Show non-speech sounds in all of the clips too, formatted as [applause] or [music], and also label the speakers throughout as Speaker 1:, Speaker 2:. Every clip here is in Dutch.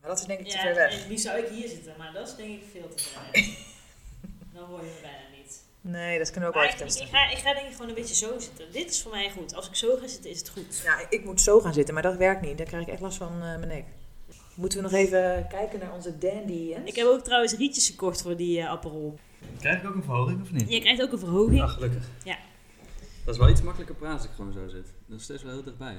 Speaker 1: Maar dat is denk ik te
Speaker 2: Ja,
Speaker 1: ver weg.
Speaker 2: en nu zou ik hier zitten, maar dat is denk ik veel te [laughs] ver weg. Dan hoor je me bijna niet.
Speaker 1: Nee, dat kunnen we ook
Speaker 2: Maar
Speaker 1: wel
Speaker 2: ik,
Speaker 1: even
Speaker 2: ik,
Speaker 1: testen.
Speaker 2: ik ga, ik ga denk ik gewoon een beetje zo zitten. Dit is voor mij goed. Als ik zo ga zitten, is het goed.
Speaker 1: Ja, ik moet zo gaan zitten, maar dat werkt niet. Daar krijg ik echt last van eh, mijn nek. Moeten we nog even kijken naar onze dandy? hè?
Speaker 2: Ik heb ook trouwens rietjes gekocht voor die eh Aperol.
Speaker 3: Krijg ik ook een verhoging of niet?
Speaker 2: Je krijgt ook een verhoging.
Speaker 3: Ah, gelukkig.
Speaker 2: Ja.
Speaker 4: Dat is wel iets makkelijker praten als ik gewoon zo zit. Dat is steeds wel heel dichtbij, hè?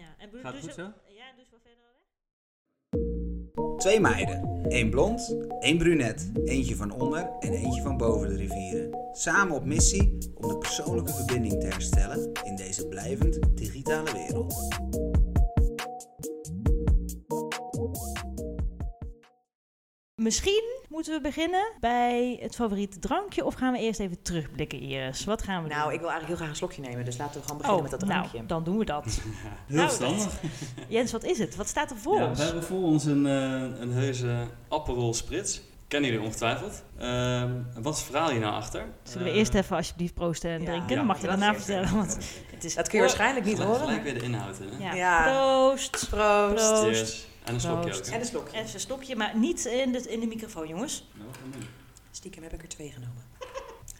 Speaker 2: Ja. En doe-
Speaker 4: Gaat
Speaker 2: doe
Speaker 4: het
Speaker 2: zo-
Speaker 4: goed
Speaker 2: Ja, dus wel verder weg.
Speaker 5: Twee meiden, één blond, één brunet, eentje van onder en eentje van boven de rivieren. Samen op missie om de persoonlijke verbinding te herstellen in deze blijvend digitale wereld.
Speaker 2: Misschien moeten we beginnen bij het favoriete drankje of gaan we eerst even terugblikken, Iris? Wat gaan we doen?
Speaker 1: Nou, ik wil eigenlijk heel graag een slokje nemen, dus laten we gewoon
Speaker 2: Oh,
Speaker 1: beginnen met dat drankje.
Speaker 2: nou, dan doen we
Speaker 4: [laughs]
Speaker 2: dat.
Speaker 4: Heel
Speaker 2: Nou,
Speaker 4: verstandig.
Speaker 2: Jens, wat is het? Wat staat er voor
Speaker 4: Ja,
Speaker 2: ons?
Speaker 4: we hebben voor ons een, eh een heuse Aperol Spritz. Kennen jullie ongetwijfeld. Ehm, wat verhaal je nou achter?
Speaker 2: Zullen we
Speaker 4: Eh,
Speaker 2: eerst even alsjeblieft proosten en
Speaker 1: ja.
Speaker 2: drinken?
Speaker 4: Ja,
Speaker 2: Mag je
Speaker 1: dat
Speaker 2: daarna
Speaker 1: is-
Speaker 2: vertellen, want het is...
Speaker 1: dat kun je waarschijnlijk niet
Speaker 4: Gelijk, gelijk
Speaker 1: horen.
Speaker 4: weer de inhoud in, hè?
Speaker 2: Ja.
Speaker 1: Ja.
Speaker 2: Proost!
Speaker 1: Proost.
Speaker 2: Proost.
Speaker 4: Cheers. En een slokje ook,
Speaker 2: Proost.
Speaker 4: hè?
Speaker 1: En een slokje.
Speaker 2: Even een slokje, maar niet in de, in de microfoon, jongens.
Speaker 4: Nou, kom in.
Speaker 1: Stiekem heb ik er twee genomen.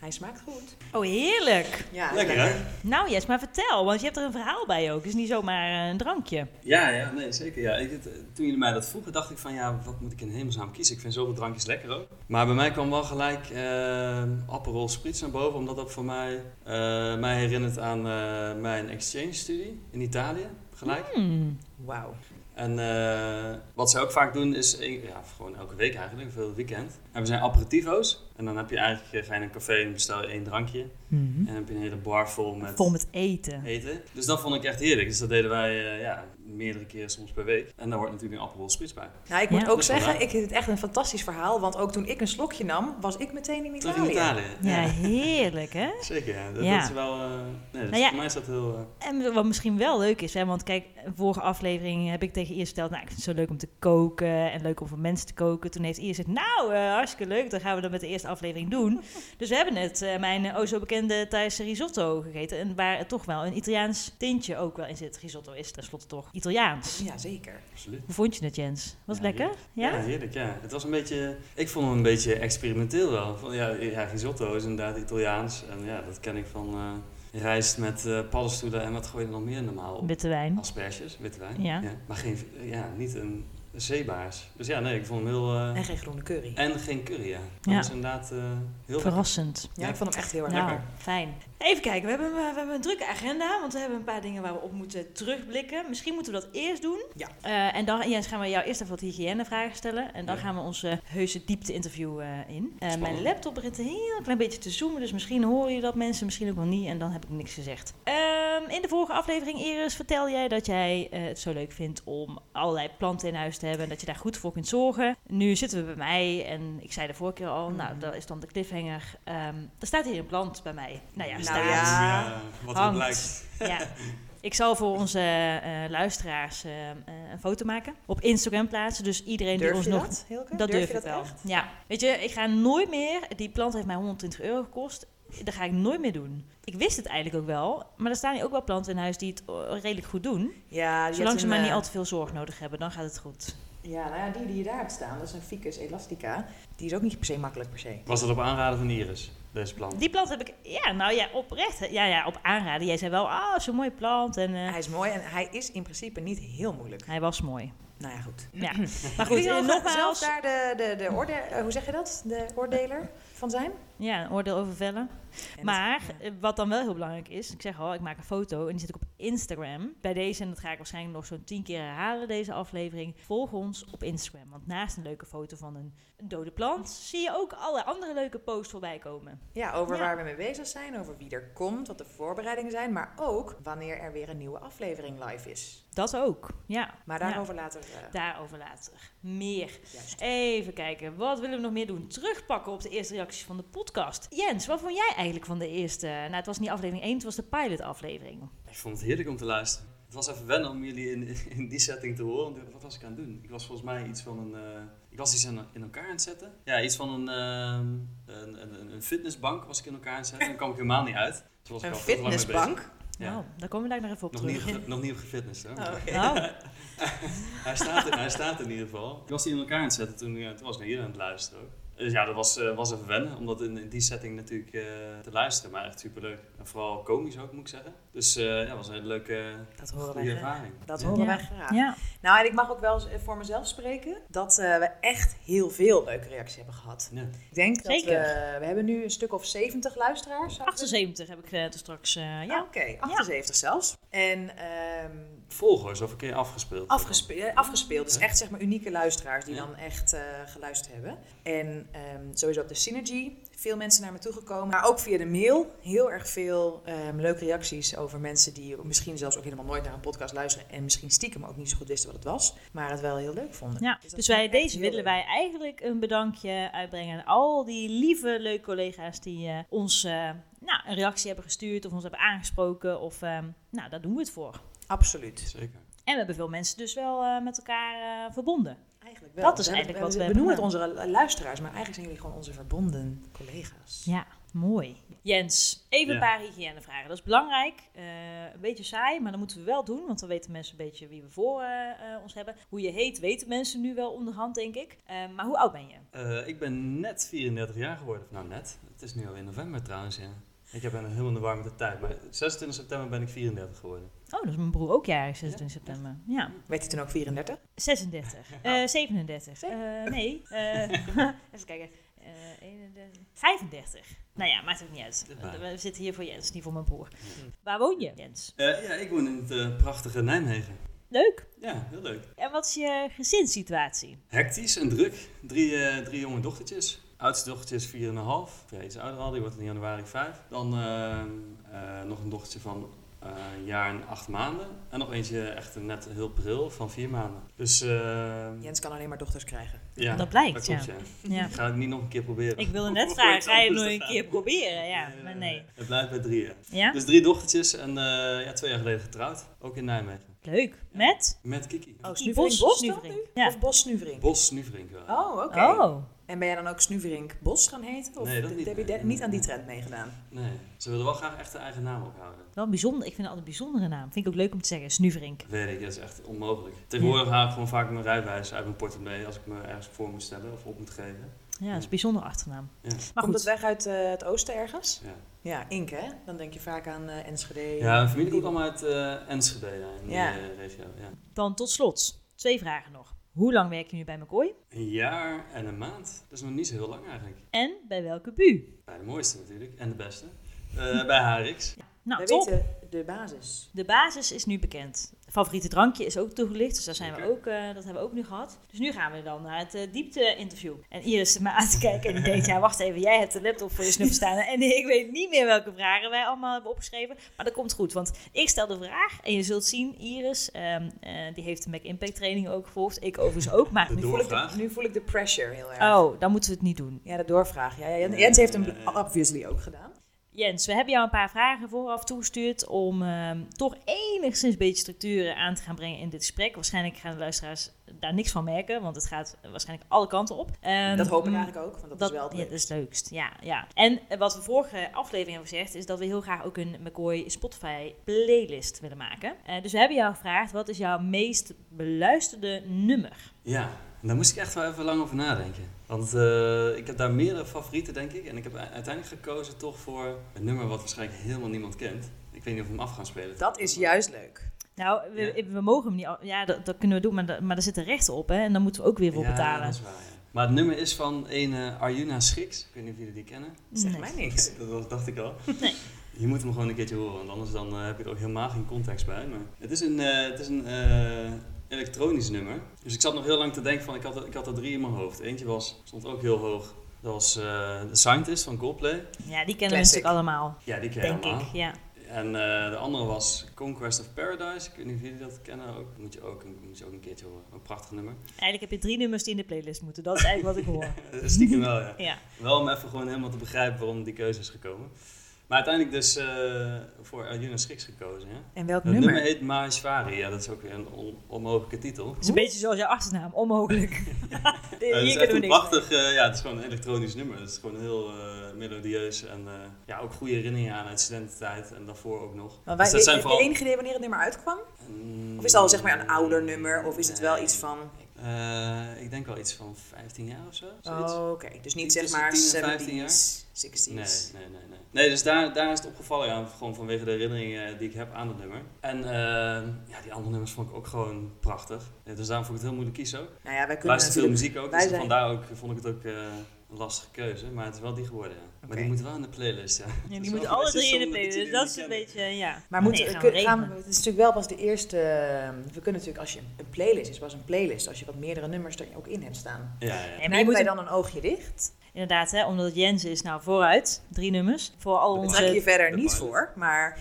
Speaker 1: Hij smaakt goed.
Speaker 2: Oh, heerlijk!
Speaker 1: Ja,
Speaker 4: Lekker, hè?
Speaker 2: Nou Jens, maar vertel, want je hebt er een verhaal bij ook. Het is niet zomaar eh, een drankje.
Speaker 4: Ja, ja, nee, zeker. Ja. Ik, het- toen jullie mij dat vroegen, dacht ik van ja, wat moet ik in hemelsnaam kiezen? Ik vind zoveel drankjes lekker ook. Maar bij mij kwam wel gelijk eh Aperol Spritz naar boven, omdat dat voor mij, eh, mij herinnert aan eh, mijn exchange-studie in Italië, gelijk.
Speaker 2: Hmm.
Speaker 1: Wauw.
Speaker 4: En eh, wat zij ook vaak doen is, eh, ja, gewoon elke week eigenlijk, veel weekend. En we zijn aperitivo's. En dan heb je eigenlijk, eh, ga je naar een café en bestel je één drankje.
Speaker 1: Mhm.
Speaker 4: En dan heb je een hele bar vol met
Speaker 2: Vol met eten.
Speaker 4: eten. Dus dat vond ik echt heerlijk. Dus dat deden wij eh, ja, meerdere keren soms per week. En daar hoort natuurlijk een Aperol Spritz bij.
Speaker 1: Nou, ik moet
Speaker 2: Ja.
Speaker 1: ook
Speaker 4: Dus
Speaker 1: zeggen,
Speaker 4: vandaar.
Speaker 1: ik vind het echt een fantastisch verhaal. Want ook toen ik een slokje nam, was ik meteen in
Speaker 4: Terug
Speaker 1: Italië.
Speaker 4: in Italië.
Speaker 2: Ja, heerlijk hè?
Speaker 4: Zeker, ja. Dat,
Speaker 2: Ja.
Speaker 4: dat is wel... eh, nee, dat is-
Speaker 2: Nou ja.
Speaker 4: Voor mij is dat heel... eh,
Speaker 2: En wat misschien wel leuk is, hè, want kijk, vorige aflevering heb ik tegen Iris verteld, nou, ik vind het zo leuk om te koken en leuk om voor mensen te koken. Toen heeft Iris gezegd, nou, eh, hartstikke leuk, dan gaan we dat met de eerste aflevering doen. Dus we hebben net eh, mijn eh, o zo bekende Thaise risotto gegeten en waar het toch wel een Italiaans tintje ook wel in zit. Risotto is tenslotte toch Italiaans.
Speaker 1: Ja, zeker.
Speaker 4: absoluut.
Speaker 2: Hoe vond je het, Jens? Was het
Speaker 4: Ja,
Speaker 2: lekker? Ja?
Speaker 4: heerlijk, ja. Het was een beetje... Ik vond hem een beetje experimenteel wel. Van, ja, ja, risotto is inderdaad Italiaans. En ja, dat ken ik van eh, rijst met eh, paddenstoelen en wat gooi je er nog meer normaal op?
Speaker 2: Witte wijn.
Speaker 4: Asperges, witte wijn.
Speaker 2: Ja.
Speaker 4: Maar geen, ja, niet een zeebaars. Dus ja, nee, ik vond hem heel... eh,
Speaker 1: En geen groene curry.
Speaker 4: en geen curry, ja. Dat
Speaker 2: Ja.
Speaker 4: is inderdaad eh, heel lekker.
Speaker 2: Verrassend.
Speaker 1: Ja, ik vond hem echt heel erg
Speaker 2: Nou,
Speaker 1: lekker.
Speaker 2: fijn. Even kijken, we hebben, we hebben een drukke agenda, want we hebben een paar dingen waar we op moeten terugblikken. Misschien moeten we dat eerst doen.
Speaker 1: Ja.
Speaker 2: Eh, en dan Jens, gaan we jou eerst even wat hygiënevragen stellen. En dan
Speaker 4: Ja.
Speaker 2: gaan we onze heuse diepte-interview eh, in. Eh, mijn
Speaker 4: Spannend.
Speaker 2: laptop begint een heel klein beetje te zoomen, dus misschien horen je dat mensen, misschien ook wel niet. En dan heb ik niks gezegd. Ehm, in de vorige aflevering, Iris, vertel jij dat jij eh, het zo leuk vindt om allerlei planten in huis te hebben. En dat je daar goed voor kunt zorgen. Nu zitten we bij mij en ik zei de vorige keer al, nou,
Speaker 1: Mm.
Speaker 2: dat is dan de cliffhanger. Ehm, er staat hier een plant bij mij. Nou ja,
Speaker 1: Nou
Speaker 2: staat.
Speaker 1: ja.
Speaker 4: wat
Speaker 2: Hangt.
Speaker 4: er blijkt.
Speaker 2: [laughs] Ja. Ik zal voor onze eh, luisteraars eh, eh, een foto maken. Op Instagram plaatsen. Dus iedereen die
Speaker 1: Durf
Speaker 2: ons
Speaker 1: je
Speaker 2: nog.
Speaker 1: dat, Hilke?
Speaker 2: Dat durf,
Speaker 1: je
Speaker 2: ik wel.
Speaker 1: echt?
Speaker 2: Ja. Weet je, ik ga nooit meer. Die plant heeft mij 120 euro gekost. Dat ga ik nooit meer doen. Ik wist het eigenlijk ook wel. Maar er staan hier ook wel planten in huis die het eh, redelijk goed doen.
Speaker 1: Ja, die
Speaker 2: Zolang
Speaker 1: had
Speaker 2: ze
Speaker 1: een,
Speaker 2: maar niet
Speaker 1: eh,
Speaker 2: al te veel zorg nodig hebben, dan gaat het goed.
Speaker 1: Ja, nou ja, die die je daar hebt staan, dat is een Ficus elastica. Die is ook niet per se makkelijk per se.
Speaker 4: Was dat op aanraden van Iris, deze plant?
Speaker 2: Die plant heb ik. Ja, nou ja, oprecht. hè. Ja, ja op aanraden. Jij zei wel, ah, zo'n mooie plant. En eh,
Speaker 1: Hij is mooi en hij is in principe niet heel moeilijk.
Speaker 2: hij was
Speaker 1: [laughs]
Speaker 2: mooi.
Speaker 1: Nou ja, goed.
Speaker 2: Ja. Maar goed,
Speaker 1: Kun je
Speaker 2: eh,
Speaker 1: al zelf
Speaker 2: nogmaals.
Speaker 1: daar de, de, de orde, eh, hoe zeg je dat? De oordeler van zijn?
Speaker 2: Ja, een oordeel over vellen.
Speaker 1: En
Speaker 2: Maar
Speaker 1: dat- ja.
Speaker 2: eh, wat dan wel heel belangrijk is, ik zeg al, ik maak een foto en die zet ik op Instagram. Bij deze, en dat ga ik waarschijnlijk nog zo'n tien keer herhalen, deze aflevering. Volg ons op Instagram, want naast een leuke foto van een dode plant, zie je ook alle andere leuke posts voorbij komen.
Speaker 1: Ja, over
Speaker 2: Ja.
Speaker 1: waar we mee bezig zijn, over wie er komt, wat de voorbereidingen zijn, maar ook wanneer er weer een nieuwe aflevering live is.
Speaker 2: Dat ook, ja.
Speaker 1: Maar daarover later. eh,
Speaker 2: Daarover later. Meer.
Speaker 1: juist.
Speaker 2: Even kijken, wat willen we nog meer doen? Terugpakken op de eerste reacties van de podcast. Jens, wat vond jij eigenlijk van de eerste? Nou, het was niet aflevering 1, het was de pilot aflevering.
Speaker 4: Ik vond het heerlijk om te luisteren. Het was even wennen om jullie in, in die setting te horen. Want Wat was ik aan het doen? Ik was volgens mij iets van een... eh, ik was iets aan- in elkaar aan het zetten. Ja, iets van een, ehm, een, een, een- een fitnessbank was ik in elkaar aan het zetten. En daar kwam ik helemaal niet uit. Dus was ik
Speaker 1: Een
Speaker 4: al veel te lang mee bezig.
Speaker 1: fitnessbank.
Speaker 4: Ja.
Speaker 2: Nou, daar komen we daar nog even op
Speaker 4: Nog
Speaker 2: Oh, terug.
Speaker 4: niet, op- nog niet op gefitness, hè?
Speaker 1: Oh, oké.
Speaker 2: Nou,
Speaker 4: hij, staat er, hij staat er in ieder geval. Ik was die in elkaar aan het zetten toen, ja, toen was ik naar jullie aan het luisteren ook. Dus ja, dat was, eh, was even wennen, om dat in, in die setting natuurlijk eh, te luisteren. Maar echt superleuk. En vooral komisch ook, moet ik zeggen. Dus eh, ja, was een hele leuke
Speaker 1: Dat horen wij
Speaker 4: goede
Speaker 1: graag.
Speaker 4: ervaring.
Speaker 1: Dat
Speaker 4: Ja.
Speaker 1: horen wij
Speaker 2: Ja.
Speaker 1: graag.
Speaker 2: Ja.
Speaker 1: Nou, en ik mag ook wel eens, eh, voor mezelf spreken dat eh, we echt heel veel leuke reacties hebben gehad.
Speaker 4: Ja.
Speaker 1: Ik denk dat
Speaker 2: Zeker.
Speaker 1: we... We hebben nu een stuk of 70 luisteraars. zou ik zeggen?
Speaker 2: 78 heb ik eh, dus straks. eh,
Speaker 1: Ja,
Speaker 2: ja.
Speaker 1: oké. 78 zelfs. En ehm,
Speaker 4: Volgers of een keer afgespeeld.
Speaker 1: afgespe- eh, afgespeeld. Dus
Speaker 4: Ja.
Speaker 1: echt zeg maar unieke luisteraars die
Speaker 4: Ja.
Speaker 1: dan echt eh, geluisterd hebben. En ehm, sowieso op de Synergy. Veel mensen naar me toegekomen. Maar ook via de mail. Heel erg veel ehm, leuke reacties over mensen die misschien zelfs ook helemaal nooit naar een podcast luisteren. En misschien stiekem ook niet zo goed wisten wat het was. Maar het wel heel leuk vonden.
Speaker 2: Ja,
Speaker 1: dat
Speaker 2: dus
Speaker 1: vind
Speaker 2: wij,
Speaker 1: ik echt
Speaker 2: deze
Speaker 1: heel
Speaker 2: willen wij eigenlijk een bedankje uitbrengen aan al die lieve, leuke collega's die eh, ons eh, nou, een reactie hebben gestuurd of ons hebben aangesproken. Of, ehm, nou, daar doen we het voor.
Speaker 1: Absoluut.
Speaker 4: Zeker.
Speaker 2: En we hebben veel mensen dus wel eh, met elkaar eh, verbonden.
Speaker 1: Eigenlijk wel.
Speaker 2: Dat is
Speaker 1: We hebben-
Speaker 2: eigenlijk wat we
Speaker 1: We noemen het
Speaker 2: hebben
Speaker 1: onze luisteraars, maar eigenlijk zijn jullie gewoon onze verbonden collega's.
Speaker 2: Ja, mooi. Jens, even een
Speaker 4: Ja.
Speaker 2: paar hygiënevragen. Dat is belangrijk. Eh, een beetje saai, maar dat moeten we wel doen. Want dan weten mensen een beetje wie we voor eh, eh, ons hebben. Hoe je heet, weten mensen nu wel onderhand, denk ik. Eh, maar hoe oud ben je?
Speaker 4: Eh, ik ben net 34 jaar geworden. Nou, net. Het is nu al in november trouwens, ja. Ik heb een helemaal in de warme de tijd. Maar 26 september ben ik 34 geworden.
Speaker 2: Oh, dat is mijn broer ook jarig, 26
Speaker 4: Ja,
Speaker 2: september. Ja,
Speaker 1: Werd hij toen ook 34?
Speaker 2: 36. Eh, 37. Eh, nee, eh, [laughs] even kijken. Eh, 31. 35. Nou ja, maakt ook niet uit.
Speaker 4: Ja.
Speaker 2: We zitten hier voor Jens, niet voor mijn broer. Waar woon je, Jens?
Speaker 4: Eh, ja, ik woon in het eh, prachtige Nijmegen.
Speaker 2: Leuk.
Speaker 4: Ja, heel leuk.
Speaker 2: En wat is je gezinssituatie?
Speaker 4: Hectisch en druk. Drie, eh, drie jonge dochtertjes. Oudste dochtertje is 4,5. Ja, iets ouder al, die wordt in januari 5. Dan eh, eh, nog een dochtertje van eh, een jaar en acht maanden. En nog eentje echt net heel pril van vier maanden. Dus eh,
Speaker 1: Jens kan alleen maar dochters krijgen.
Speaker 4: ja,
Speaker 2: dat blijkt,
Speaker 4: klopt,
Speaker 2: ja.
Speaker 4: ja.
Speaker 2: Ja.
Speaker 4: Ik ga het niet nog een keer proberen.
Speaker 2: Ik wilde net
Speaker 4: Om
Speaker 2: vragen,
Speaker 4: iets
Speaker 2: ga je het nog
Speaker 4: anders te
Speaker 2: een
Speaker 4: gaan.
Speaker 2: keer proberen? Ja, maar nee.
Speaker 4: Het blijft bij drieën.
Speaker 2: Ja?
Speaker 4: Dus drie dochtertjes en eh, ja, twee jaar geleden getrouwd. Ook in Nijmegen.
Speaker 2: Leuk. Met?
Speaker 4: Met Kiki.
Speaker 1: Oh,
Speaker 2: Die
Speaker 1: Snuvering
Speaker 2: Bos-
Speaker 1: Bos
Speaker 2: Snuvering.
Speaker 1: dan nu?
Speaker 2: Ja.
Speaker 1: Of Bos Snuvering?
Speaker 4: Bos Nuvrink wel.
Speaker 1: Oh, oké.
Speaker 2: Oh.
Speaker 1: En ben jij dan ook Snuverink Bos gaan heten? Of
Speaker 4: Nee, dat
Speaker 1: d-
Speaker 4: niet,
Speaker 1: heb je
Speaker 4: nee.
Speaker 1: de- niet aan die trend meegedaan?
Speaker 4: Nee, ze wilden wel graag echt haar eigen naam ophouden.
Speaker 2: Wel bijzonder. Ik vind het altijd een bijzondere naam. Vind ik ook leuk om te zeggen. Snuverink.
Speaker 4: Weet ik, dat is echt onmogelijk. Tegenwoordig haal ik gewoon vaak mijn rijbewijs uit mijn portemonnee als ik me ergens voor moet stellen of op moet geven.
Speaker 2: Ja, dat is een bijzondere achternaam.
Speaker 4: Ja.
Speaker 2: Maar
Speaker 1: Komt het
Speaker 2: goed.
Speaker 1: weg uit eh, het oosten ergens?
Speaker 4: Ja,
Speaker 1: Ja, Ink hè? Dan denk je vaak aan eh, Enschede.
Speaker 4: ja mijn familie komt allemaal uit eh, Enschede daar in
Speaker 1: Ja.
Speaker 4: die eh, regio. Ja.
Speaker 2: Dan tot slot. Twee vragen nog. Hoe lang werk je nu bij McCoy?
Speaker 4: Een jaar en een maand. Dat is nog niet zo heel lang eigenlijk.
Speaker 2: En bij welke bu?
Speaker 4: Bij de mooiste natuurlijk en de beste.
Speaker 1: [laughs]
Speaker 4: Eh, bij HRX.
Speaker 2: Nou,
Speaker 1: We
Speaker 2: top.
Speaker 1: weten de basis.
Speaker 2: De basis is nu bekend. Favoriete drankje is ook toegelicht, dus daar zijn we
Speaker 4: Zeker.
Speaker 2: ook, eh, dat hebben we ook nu gehad. Dus nu gaan we dan naar het eh, diepte-interview. En Iris zit me aan te kijken en die denkt, ja wacht even, jij hebt de laptop voor je snuffel staan. En ik weet niet meer welke vragen wij allemaal hebben opgeschreven. Maar dat komt goed, want ik stel de vraag en je zult zien, Iris, ehm, eh, die heeft de Mac Impact training ook gevolgd. Ik overigens ook, maar...
Speaker 4: De
Speaker 1: Nu voel, ik de,
Speaker 4: doorvraag.
Speaker 1: nu voel ik de pressure heel erg.
Speaker 2: Oh, dan moeten we het niet doen.
Speaker 1: Ja, de doorvraag. Ja, ja, Jens- Jens heeft hem
Speaker 4: Ja, ja, ja.
Speaker 1: obviously ook gedaan.
Speaker 2: Jens, we hebben jou een paar vragen vooraf toegestuurd om ehm, toch enigszins een beetje structuren aan te gaan brengen in dit gesprek. Waarschijnlijk gaan de luisteraars daar niks van merken, want het gaat waarschijnlijk alle kanten op. Ehm,
Speaker 1: dat hoop ik
Speaker 2: mm,
Speaker 1: eigenlijk ook, want dat, is wel het
Speaker 2: ja, dat
Speaker 1: leukst.
Speaker 2: is het leukst. Ja, ja. En eh, wat we vorige aflevering hebben gezegd, is dat we heel graag ook een McCoy Spotify playlist willen maken. Eh, dus we hebben jou gevraagd, wat is jouw meest beluisterde nummer?
Speaker 4: Ja, en daar moest ik echt wel even lang over nadenken. Want eh, ik heb daar meerdere favorieten, denk ik. En ik heb u- uiteindelijk gekozen toch voor een nummer wat waarschijnlijk helemaal niemand kent. Ik weet niet of we hem af gaan spelen.
Speaker 1: Dat is juist leuk.
Speaker 2: Nou, we,
Speaker 4: Ja.
Speaker 2: we mogen hem niet. al- Ja, dat, dat kunnen we doen, maar, da- maar daar zitten rechten op, hè? En daar moeten we ook weer voor
Speaker 4: Ja,
Speaker 2: betalen.
Speaker 4: dat is waar, ja. Maar het nummer is van een eh, Arjuna Schiks. Ik weet niet of jullie die kennen.
Speaker 1: Zeg
Speaker 2: Nee.
Speaker 1: mij niks.
Speaker 4: [laughs] Dat was- dacht ik al. Je moet hem gewoon een keertje horen, want anders dan, eh, heb je er ook helemaal geen context bij. Maar het is een, eh, het is een eh, elektronisch nummer. Dus ik zat nog heel lang te denken van, ik had, er- ik had er drie in mijn hoofd. Eentje was, stond ook heel hoog. Dat was eh The Scientist van Coldplay.
Speaker 2: Ja, die kennen we
Speaker 1: Classic.
Speaker 2: natuurlijk allemaal.
Speaker 4: Ja, die ken je
Speaker 2: Denk
Speaker 4: allemaal.
Speaker 2: ik, ja.
Speaker 4: En eh, de andere was Conquest of Paradise. Ik weet niet of jullie dat kennen ook. Moet je ook, moet je ook een keertje horen. Een prachtig nummer. [laughs]
Speaker 2: Eigenlijk heb je drie nummers die in de playlist moeten. Dat is eigenlijk wat ik hoor.
Speaker 4: Stiekem wel, ja.
Speaker 2: Ja.
Speaker 4: Wel om even gewoon helemaal te begrijpen waarom die keuze is gekomen. Maar uiteindelijk dus eh, voor Arjuna Schiks gekozen. Hè?
Speaker 1: En welk
Speaker 4: Het
Speaker 1: nummer?
Speaker 4: nummer heet Maheshwari. Ja, dat is ook weer een on- onmogelijke titel.
Speaker 2: Het is een beetje zoals jouw achternaam, onmogelijk. [laughs]
Speaker 4: Eh, het is
Speaker 2: Hier
Speaker 4: echt
Speaker 2: kunnen we
Speaker 4: een
Speaker 2: niks
Speaker 4: prachtig, eh, ja, het is gewoon een elektronisch nummer. Het is gewoon heel eh, melodieus en eh, ja, ook goede herinneringen aan uit studententijd en daarvoor ook nog.
Speaker 1: Maar wij,
Speaker 4: Dus dat zijn
Speaker 1: de
Speaker 4: vooral-
Speaker 1: enige idee wanneer het nummer uitkwam? Of is het al zeg maar een ouder nummer? Of is het wel
Speaker 4: Nee.
Speaker 1: iets van...
Speaker 4: Eh, ik denk al iets van 15 jaar of zo. zoiets.
Speaker 1: Oh, Oké, dus niet
Speaker 4: Tussen
Speaker 1: zeg maar
Speaker 4: 10 en 15 jaar?
Speaker 1: 70s, 60s.
Speaker 4: Nee, nee, nee, nee. Nee, dus daar, daar is het opgevallen, ja, gewoon vanwege de herinneringen die ik heb aan dat nummer. En eh, ja, die andere nummers vond ik ook gewoon prachtig. Ja, dus daarom vond ik het heel moeilijk kiezen ook.
Speaker 1: Nou ja, wij kunnen
Speaker 4: Luister veel
Speaker 1: natuurlijk...
Speaker 4: muziek ook,
Speaker 1: wij
Speaker 4: dus
Speaker 1: zijn-
Speaker 4: vandaar ook, vond ik het ook eh, een lastige keuze. Maar het is wel die geworden, ja. Maar
Speaker 1: Oké.
Speaker 4: die moeten wel in de playlist, ja. [laughs]
Speaker 2: Ja,
Speaker 4: Dat
Speaker 2: die
Speaker 4: is
Speaker 2: moeten
Speaker 4: wel
Speaker 2: alle
Speaker 4: een beetje
Speaker 2: drie in de
Speaker 4: zonde dat
Speaker 2: playlist.
Speaker 4: je die
Speaker 2: Dat
Speaker 4: niet
Speaker 2: is een
Speaker 4: kennen.
Speaker 2: beetje, ja.
Speaker 1: Maar moeten,
Speaker 2: Nee, gaan
Speaker 1: kun-
Speaker 2: we
Speaker 1: gaan we-
Speaker 2: regelen.
Speaker 1: het is natuurlijk wel pas de eerste... ehm, We kunnen natuurlijk, als je een playlist is, pas een playlist. Als je wat meerdere nummers er ook in hebt staan.
Speaker 4: Ja, ja.
Speaker 2: En maar je
Speaker 1: Knijpen
Speaker 2: moet
Speaker 1: wij
Speaker 2: hem-
Speaker 1: dan een oogje dicht?
Speaker 2: Inderdaad, hè, omdat Jens is nou vooruit. Drie nummers. Voor
Speaker 1: We
Speaker 2: al
Speaker 1: trekken
Speaker 2: onze...
Speaker 1: je verder
Speaker 4: de
Speaker 1: niet
Speaker 4: pilot.
Speaker 1: voor, maar...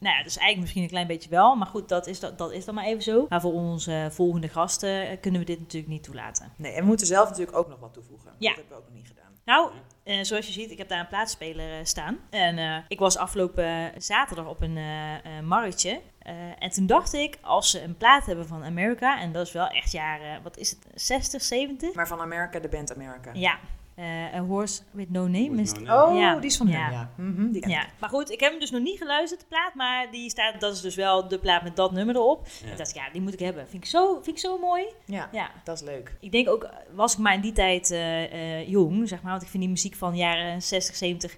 Speaker 2: Nou ja, dus eigenlijk misschien een klein beetje wel. Maar goed, dat is, dat, dat is dan maar even zo. Maar voor onze volgende gasten eh, kunnen we dit natuurlijk niet toelaten.
Speaker 1: Nee, en we moeten zelf natuurlijk ook nog wat toevoegen.
Speaker 2: Ja.
Speaker 1: Dat hebben we ook nog niet gedaan.
Speaker 2: Nou, eh, zoals je ziet, ik heb daar een plaatsspeler eh, staan. En eh, ik was afgelopen zaterdag op een eh, eh, marktje. Eh, en toen dacht ik, als ze een plaat hebben van America, en dat is wel echt jaren, eh, wat is het, 60, 70?
Speaker 1: Maar van Amerika, de band Amerika.
Speaker 2: Ja, eh A Horse With No Name is het.
Speaker 4: Moet nou,
Speaker 1: Oh,
Speaker 2: Ja.
Speaker 1: die is van
Speaker 2: Ja.
Speaker 1: hem, ja. Mhm, die ken ik.
Speaker 2: Ja, maar goed, ik heb hem dus nog niet geluisterd, de plaat, maar die staat, dat is dus wel de plaat met dat nummer erop.
Speaker 4: nee.
Speaker 2: Ik
Speaker 4: Ja.
Speaker 2: dacht, ja, die moet ik hebben. Vind ik zo, vind ik zo mooi.
Speaker 1: ja,
Speaker 2: Ja.
Speaker 1: dat is leuk.
Speaker 2: Ik denk ook, eh, was ik maar in die tijd eh, eh, jong, zeg maar, want ik vind die muziek van jaren 60, 70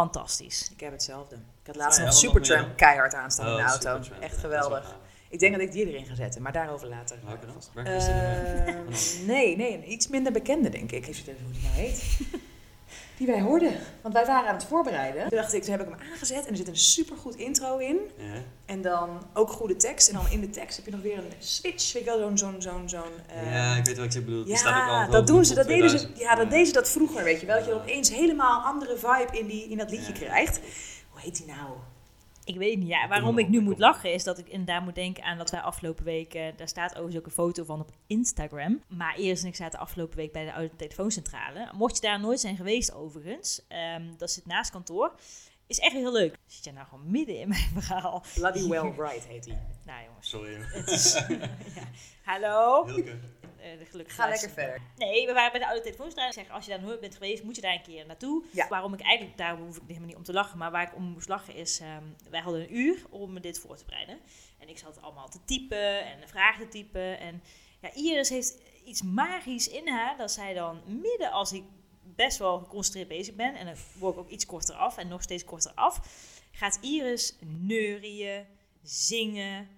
Speaker 2: fantastisch.
Speaker 1: Ik heb hetzelfde. Ik had laatst
Speaker 4: Ah, ja,
Speaker 1: nog
Speaker 4: wat nog meer
Speaker 1: Supertramp
Speaker 4: dan?
Speaker 1: keihard aanstaan in
Speaker 4: Oh,
Speaker 1: de auto.
Speaker 4: Supertramp,
Speaker 1: Echt
Speaker 4: ja, dat is wel
Speaker 1: geweldig.
Speaker 4: gaaf.
Speaker 1: Ik denk dat ik die erin ga zetten, maar daarover later.
Speaker 4: Welke dan? Welke is dit nummer?
Speaker 1: Eh, nee, nee, een iets minder bekende denk ik. Even zitten hoe die nou
Speaker 2: [laughs]
Speaker 1: heet. Die wij hoorden. Want wij waren aan het voorbereiden. Toen dacht ik, toen heb ik hem aangezet en er zit een supergoed intro in.
Speaker 4: Ja.
Speaker 1: En dan ook goede tekst. En dan in de tekst heb je nog weer een switch. Weet je wel, zo'n, zo'n, zo'n, zo'n... eh,
Speaker 4: ja, ik weet wat je bedoelt. Die staat
Speaker 1: Ja,
Speaker 4: ook altijd
Speaker 1: dat
Speaker 4: hoog
Speaker 1: doen
Speaker 4: in
Speaker 1: ze.
Speaker 4: de
Speaker 1: Dat
Speaker 4: top
Speaker 1: deden ze.
Speaker 4: 2000.
Speaker 1: Ja, dat
Speaker 4: Ja.
Speaker 1: deden ze dat vroeger, weet je wel. Dat je
Speaker 4: Ja.
Speaker 1: opeens helemaal andere vibe in, die, in dat liedje
Speaker 4: Ja.
Speaker 1: krijgt. Hoe heet die nou?
Speaker 2: Ik weet niet, ja,
Speaker 4: Kom
Speaker 2: waarom
Speaker 4: maar
Speaker 2: ik
Speaker 4: op,
Speaker 2: nu
Speaker 4: kom
Speaker 2: moet
Speaker 4: maar op.
Speaker 2: lachen is dat ik inderdaad moet denken aan dat wij afgelopen week, eh, daar staat overigens ook een foto van op Instagram. Maar eerst en ik zaten afgelopen week bij de oude telefooncentrale. Mocht je daar nooit zijn geweest overigens, ehm, dat zit naast kantoor. Is echt heel leuk. Zit jij nou gewoon midden in mijn verhaal?
Speaker 1: Bloody Well Right heet die.
Speaker 2: Nou jongens,
Speaker 4: Sorry, hoor.
Speaker 2: het is... ja. Hallo?
Speaker 4: Hilke.
Speaker 2: Eh, gelukkig
Speaker 1: Ga lekker
Speaker 2: luisteren.
Speaker 1: verder.
Speaker 2: Nee, we waren bij de oude telefoonstraat. Ik zeg, als je daar nooit bent geweest, moet je daar een keer naartoe.
Speaker 1: Ja.
Speaker 2: Waarom ik eigenlijk, daar hoef ik helemaal niet om te lachen, maar waar ik om moest lachen is, ehm, wij hadden een uur om dit voor te bereiden. En ik zat allemaal te typen en de vragen te typen. En ja, Iris heeft iets magisch in haar, dat zij dan midden als ik best wel geconcentreerd bezig ben, en dan word ik ook iets korter af en nog steeds korter af, gaat Iris neurieën, zingen,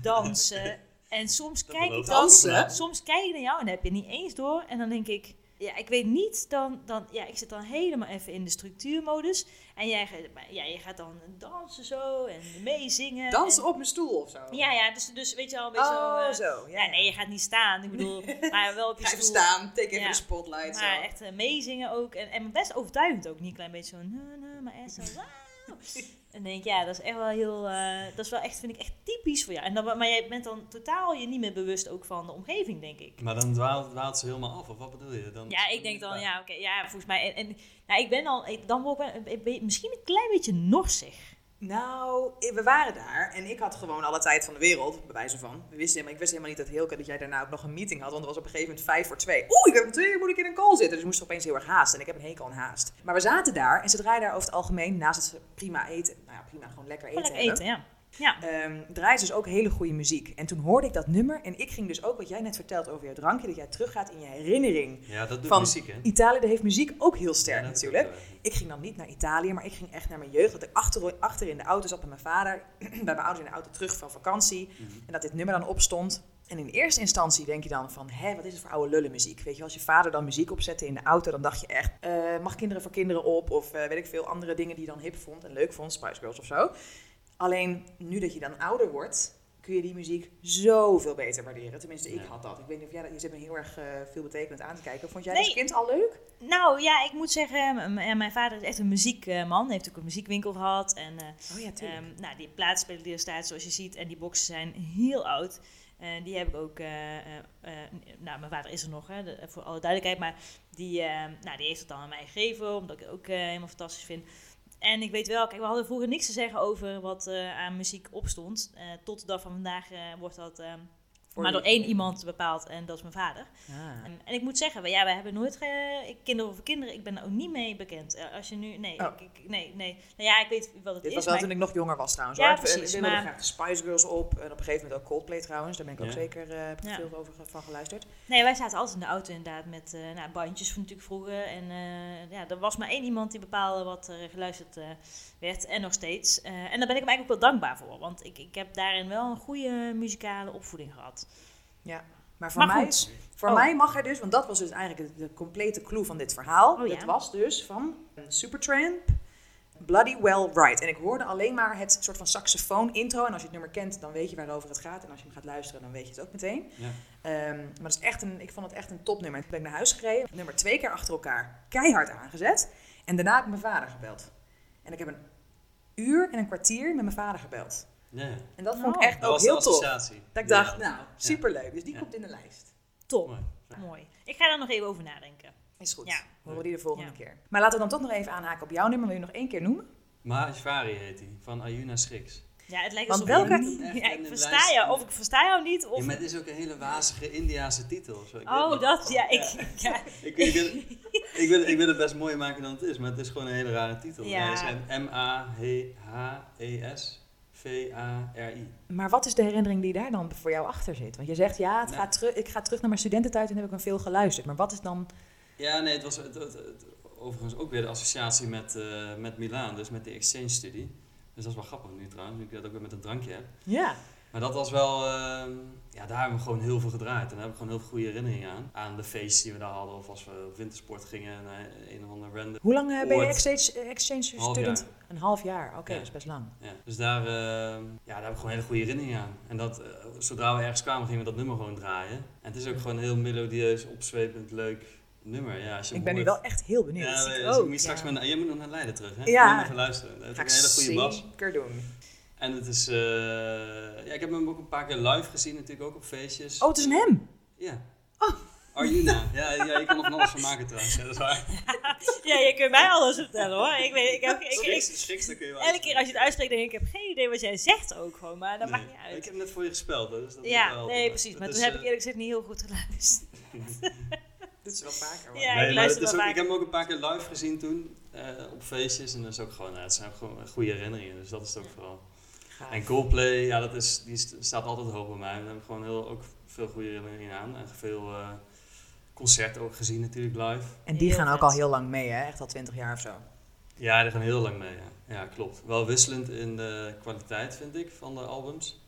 Speaker 2: dansen. En soms
Speaker 4: Dat
Speaker 2: kijk ik
Speaker 4: belooft
Speaker 2: dan
Speaker 1: dansen, hè?
Speaker 2: soms kijk ik naar jou en dan heb je het niet eens door. En dan denk ik, ja, ik weet niet, dan, dan, ja, ik zit dan helemaal even in de structuurmodus. En jij, gaat- maar ja, je gaat dan dansen zo en meezingen.
Speaker 1: Dansen
Speaker 2: en-
Speaker 1: op mijn stoel of zo.
Speaker 2: Ja, ja, dus, dus weet je al een beetje zo...
Speaker 1: Oh,
Speaker 2: eh,
Speaker 1: zo.
Speaker 2: ja,
Speaker 1: Ja,
Speaker 2: nee, je gaat niet
Speaker 1: [laughs]
Speaker 2: staan. Ik bedoel, maar wel op je
Speaker 1: Ga even
Speaker 2: stoel.
Speaker 1: staan. Take even
Speaker 2: Ja.
Speaker 1: de spotlight.
Speaker 2: Maar
Speaker 1: zo.
Speaker 2: echt eh, meezingen ook. En, en best overtuigend ook. Niet een klein beetje zo... "Na, na," maar echt zo...
Speaker 1: [laughs]
Speaker 2: "Wauw." En denk ik, ja, dat is echt wel heel... eh, dat is wel echt, vind ik echt typisch voor jou. En dan, maar jij bent dan totaal je niet meer bewust ook van de omgeving, denk ik.
Speaker 4: Maar dan dwaalt, dwaalt ze helemaal af, of wat bedoel je? Dan
Speaker 2: Ja, ik denk dan, ja, oké, ja, volgens mij. En, en nou, ik ben al, ik- dan word ik wel een- een be- misschien een klein beetje norsig.
Speaker 1: Nou, i- we waren daar en ik had gewoon alle tijd van de wereld, bij wijze van. We wisten helemaal, ik wist helemaal niet dat Hilke, dat jij daarna ook nog een meeting had, want het was op een gegeven moment vijf voor twee. Oeh, ik heb om twee uur moet ik in een call zitten, dus ik moest opeens heel erg haasten en ik heb een hekel aan haast. Maar we zaten daar en zodra je daar over het algemeen, naast het prima eten, nou ja, prima, gewoon lekker eten
Speaker 2: Gewoon lekker
Speaker 1: hebben,
Speaker 2: eten, ja. Ja,
Speaker 1: ehm, draaien ze dus ook hele goede muziek. En toen hoorde ik dat nummer en ik ging dus ook, wat jij net vertelt over jouw drankje, dat jij teruggaat in je herinnering.
Speaker 4: Ja, dat doet
Speaker 1: Van-
Speaker 4: muziek, hè?
Speaker 1: Italië daar heeft muziek ook heel
Speaker 4: Ja,
Speaker 1: sterk
Speaker 4: dat doet
Speaker 1: natuurlijk.
Speaker 4: ook wel.
Speaker 1: Ik ging dan niet naar Italië, maar ik ging echt naar mijn jeugd. Dat ik achter, achter in de auto zat met mijn vader, [clears throat] bij mijn ouders in de auto terug van vakantie. En dat dit nummer dan opstond. En in eerste instantie denk je dan van, hé, wat is het voor oude lullenmuziek? Weet je, als je vader dan muziek opzette in de auto, dan dacht je echt, eh, mag kinderen voor kinderen op? Of eh, weet ik veel, andere dingen die je dan hip vond en leuk vond, Spice Girls of zo. Alleen nu dat je dan ouder wordt, kun je die muziek zoveel beter waarderen. Tenminste, ik
Speaker 4: Ja.
Speaker 1: had dat. Ik weet niet of jij dat, je zit me heel erg eh, veelbetekenend aan te kijken. Vond jij
Speaker 2: Nee.
Speaker 1: als kind al leuk?
Speaker 2: nou ja, ik moet zeggen, m- m- ja, mijn vader is echt een muziekman. Heeft ook een muziekwinkel gehad. En eh,
Speaker 1: Oh ja,
Speaker 2: ehm, nou, die plaatspeler die er staat, zoals je ziet, en die boxen zijn heel oud. Eh, die heb ik ook, eh, eh, eh, nou, mijn vader is er nog, hè, de- voor alle duidelijkheid. Maar die, eh, nou, die heeft het dan aan mij gegeven, omdat ik het ook eh, helemaal fantastisch vind. En ik weet wel, kijk, we hadden vroeger niks te zeggen over wat eh, aan muziek opstond. Eh, tot de dag van vandaag eh, wordt dat eh,
Speaker 1: Voor
Speaker 2: maar door
Speaker 1: wie?
Speaker 2: één iemand bepaald en dat is mijn vader.
Speaker 1: Ah.
Speaker 2: En, en ik moet zeggen, we- ja, we hebben nooit ge- ik- kinderen over kinderen. Ik ben er ook niet mee bekend. Eh, Als je nu, nee,
Speaker 1: Oh.
Speaker 2: ik, ik- nee, nee. Nou ja, ik weet wat het
Speaker 1: Dit
Speaker 2: is.
Speaker 1: was wel
Speaker 2: maar
Speaker 1: toen ik nog jonger was trouwens.
Speaker 2: Ja,
Speaker 1: hoor. We-
Speaker 2: precies,
Speaker 1: We wilden
Speaker 2: maar-
Speaker 1: graag de Spice Girls op. En op een gegeven moment ook Coldplay trouwens. Daar ben ik ook
Speaker 4: Ja.
Speaker 1: zeker eh, heb ik
Speaker 2: Ja.
Speaker 1: veel over, ge- van geluisterd.
Speaker 2: Nee, wij zaten altijd in de auto inderdaad met eh, nou, bandjes van natuurlijk vroeger. En eh, ja, er was maar één iemand die bepaalde wat er geluisterd eh, werd en nog steeds. Eh, en daar ben ik hem eigenlijk ook wel dankbaar voor, want ik, ik heb daarin wel een goede muzikale opvoeding gehad.
Speaker 1: Maar voor,
Speaker 2: Maar
Speaker 1: mij,
Speaker 2: goed.
Speaker 1: is- voor
Speaker 2: Oh.
Speaker 1: mij mag er dus, want dat was dus eigenlijk de, de complete clue van dit verhaal.
Speaker 2: Oh, ja.
Speaker 1: Dat was dus van Supertramp, Bloody Well Right. En ik hoorde alleen maar het soort van saxofoon intro. En als je het nummer kent, dan weet je waarover het gaat. En als je hem gaat luisteren, dan weet je het ook meteen.
Speaker 4: Ja.
Speaker 1: Ehm, maar dat is echt een, ik vond het echt een topnummer. Toen ben ik naar huis gereden, nummer twee keer achter elkaar, keihard aangezet. En daarna heb ik mijn vader gebeld. En ik heb een uur en een kwartier met mijn vader gebeld.
Speaker 4: Ja, ja.
Speaker 1: En dat
Speaker 2: Oh.
Speaker 1: vond ik echt
Speaker 4: Dat
Speaker 1: ook
Speaker 4: was de
Speaker 1: heel tof.
Speaker 4: associatie.
Speaker 1: Dat ik
Speaker 4: Ja.
Speaker 1: dacht, nou, superleuk. Dus die
Speaker 4: Ja.
Speaker 1: komt in de lijst.
Speaker 2: Top,
Speaker 4: Mooi.
Speaker 2: mooi. Ik ga daar nog even over nadenken.
Speaker 1: Is goed.
Speaker 2: Ja.
Speaker 1: Horen we die de volgende
Speaker 2: Ja.
Speaker 1: keer. Maar laten we dan toch nog even aanhaken op jouw nummer. Wil je nog één keer noemen?
Speaker 4: Maashvari heet hij, van Ayuna Schriks.
Speaker 2: Ja, het lijkt
Speaker 1: Want
Speaker 2: alsof je
Speaker 1: welke-
Speaker 2: niet-
Speaker 4: Echt
Speaker 2: Ja, ik
Speaker 4: een
Speaker 2: versta
Speaker 4: lijst-
Speaker 2: je, of ik versta jou niet, of...
Speaker 4: Ja, maar het is ook een hele wazige Indiase titel. Zo, ik weet
Speaker 2: Oh,
Speaker 4: niet.
Speaker 2: dat, ja, ik... [laughs] Ja,
Speaker 4: Ik, ik, wil, ik, wil, ik wil het best mooier maken dan het is, maar het is gewoon een hele rare titel.
Speaker 2: Ja.
Speaker 4: Hij is E M-A-H-E-S-V-A-R-I.
Speaker 1: Maar wat is de herinnering die daar dan voor jou achter zit? Want je zegt, ja, het
Speaker 4: Nou.
Speaker 1: gaat terug, ik ga terug naar mijn studententijd en heb ik hem veel geluisterd. Maar wat is dan...
Speaker 4: Ja, nee, het was het, het- het- overigens ook weer de associatie met, eh met Milaan, dus met de exchange studie. Dus dat is wel grappig nu trouwens, nu ik dat ook weer met een drankje heb.
Speaker 1: Ja.
Speaker 4: Maar dat was wel, ehm, ja, daar hebben we gewoon heel veel gedraaid. En daar heb ik gewoon heel veel goede herinneringen aan. Aan de feesten die we daar hadden, of als we op wintersport gingen naar een of ander random.
Speaker 1: Hoe lang eh, ben je
Speaker 4: Ooit.
Speaker 1: exchange, eh, exchange
Speaker 4: Half
Speaker 1: student? Een half jaar. Oké,
Speaker 4: Ja.
Speaker 1: dat is best lang.
Speaker 4: Ja. Dus daar, ehm, ja, daar heb ik gewoon hele goede herinneringen aan. En dat, eh, zodra we ergens kwamen, gingen we dat nummer gewoon draaien. En het is ook gewoon een heel melodieus, opzwepend, leuk nummer. Ja, als je
Speaker 1: Ik
Speaker 4: hem
Speaker 1: ben nu
Speaker 4: hoort.
Speaker 1: wel echt heel benieuwd. Oh,
Speaker 4: Ja,
Speaker 1: Ik
Speaker 4: dus
Speaker 1: ook,
Speaker 4: ik moet straks
Speaker 1: ja.
Speaker 4: met, jij moet nog naar Leiden terug, hè?
Speaker 1: Ja.
Speaker 4: Moet je even luisteren. Dat is
Speaker 1: Ga
Speaker 4: ook
Speaker 1: ik
Speaker 4: een hele goede bas.
Speaker 1: zeker doen.
Speaker 4: En het is, eh, ja, ik heb hem ook een paar keer live gezien natuurlijk, ook op feestjes.
Speaker 1: Oh, het is een hem.
Speaker 4: Ja.
Speaker 2: Oh.
Speaker 4: Arjuna. Ja, ja, je kan er van alles van maken trouwens. Ja, dat is waar.
Speaker 2: ja, je kunt mij alles vertellen, hoor. Ik weet, ik, heb- ik, ik,
Speaker 4: Schiks, schiks, daar kun je wel
Speaker 2: elke keer als je het uitspreekt, denk ik, ik heb geen idee wat jij zegt ook gewoon, maar dat
Speaker 4: Nee.
Speaker 2: maakt niet uit.
Speaker 4: Ik heb hem net voor je gespeeld, hè, dus dat moet
Speaker 2: Ja,
Speaker 4: wel-
Speaker 2: nee, precies. Maar
Speaker 4: dat
Speaker 2: toen
Speaker 4: is,
Speaker 2: heb ik
Speaker 4: eh,
Speaker 2: eerlijk gezegd niet heel goed geluisterd.
Speaker 1: Dit is wel vaker.
Speaker 2: Ja,
Speaker 4: nee,
Speaker 2: ik
Speaker 4: maar het
Speaker 2: luister
Speaker 4: is
Speaker 2: wel
Speaker 4: ook,
Speaker 2: vaak.
Speaker 4: ik heb hem ook een paar keer live gezien toen eh, op feestjes. En dat is ook gewoon, nou, het zijn ook gewoon goede herinneringen. Dus dat is het ook vooral. En Coldplay, ja, dat is, die st- staat altijd hoog bij mij. Daar heb ik gewoon heel, ook veel goede herinneringen aan. En veel eh, concerten ook gezien natuurlijk live.
Speaker 1: En die
Speaker 2: Heel
Speaker 1: gaan ook
Speaker 2: vet.
Speaker 1: al heel lang mee, hè? Echt al twintig jaar of zo.
Speaker 4: Ja, daar gaan we heel lang mee. Ja. ja, klopt. Wel wisselend in de kwaliteit, vind ik, van de albums.
Speaker 2: [laughs]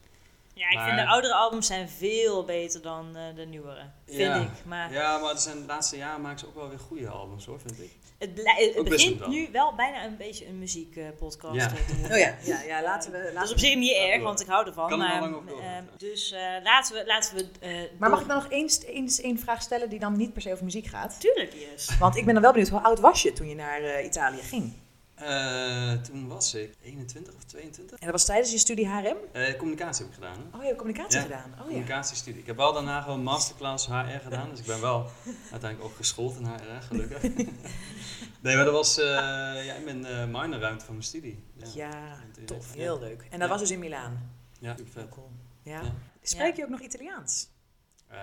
Speaker 2: Ja, ik vind
Speaker 4: Maar-
Speaker 2: de oudere albums zijn veel beter dan eh, de nieuwere. Vind
Speaker 4: Ja.
Speaker 2: ik. Maar
Speaker 4: Ja, maar er zijn de laatste jaren maken ze ook wel weer goede albums, hoor, vind ik.
Speaker 2: het, blij- het
Speaker 4: Ook
Speaker 2: begint
Speaker 4: wisselend wel.
Speaker 2: nu wel bijna een beetje een muziekpodcast
Speaker 4: Ja.
Speaker 2: te
Speaker 4: [laughs]
Speaker 2: worden.
Speaker 1: Oh ja, ja, ja laten we...
Speaker 2: Dat is
Speaker 1: Laten
Speaker 2: op
Speaker 1: we...
Speaker 2: zich niet erg,
Speaker 4: door.
Speaker 2: want ik hou ervan.
Speaker 4: Kan er
Speaker 2: maar,
Speaker 4: nog lang over doorgaan.
Speaker 2: eh, dus eh, laten we... Laten we eh,
Speaker 1: Maar mag ik
Speaker 2: door-
Speaker 1: dan nog eens eens één vraag stellen die dan niet per se over muziek gaat?
Speaker 2: Tuurlijk, yes.
Speaker 1: Want ik ben dan wel benieuwd, hoe oud was je toen je naar eh, Italië ging?
Speaker 4: Eh, toen was ik 21 of 22.
Speaker 1: En dat was tijdens je studie HRM?
Speaker 4: Eh, communicatie heb ik gedaan. hè.
Speaker 1: Oh, je hebt communicatie
Speaker 4: Ja,
Speaker 1: gedaan. Oh ja.
Speaker 4: Communicatiestudie. Ik heb wel daarna gewoon masterclass HR gedaan, dus ik ben wel uiteindelijk ook geschoold in HR,
Speaker 1: [laughs]
Speaker 4: gelukkig. nee, maar dat was eh ja, in mijn eh minorruimte van mijn studie.
Speaker 1: Ja,
Speaker 4: Ja.
Speaker 1: tof.
Speaker 4: Ja.
Speaker 1: Heel leuk. En dat
Speaker 4: Ja.
Speaker 1: was dus in Milaan.
Speaker 4: Ja, super vet.
Speaker 1: Cool. Ja.
Speaker 4: Ja.
Speaker 1: Spreek je ook nog Italiaans?
Speaker 4: Eh,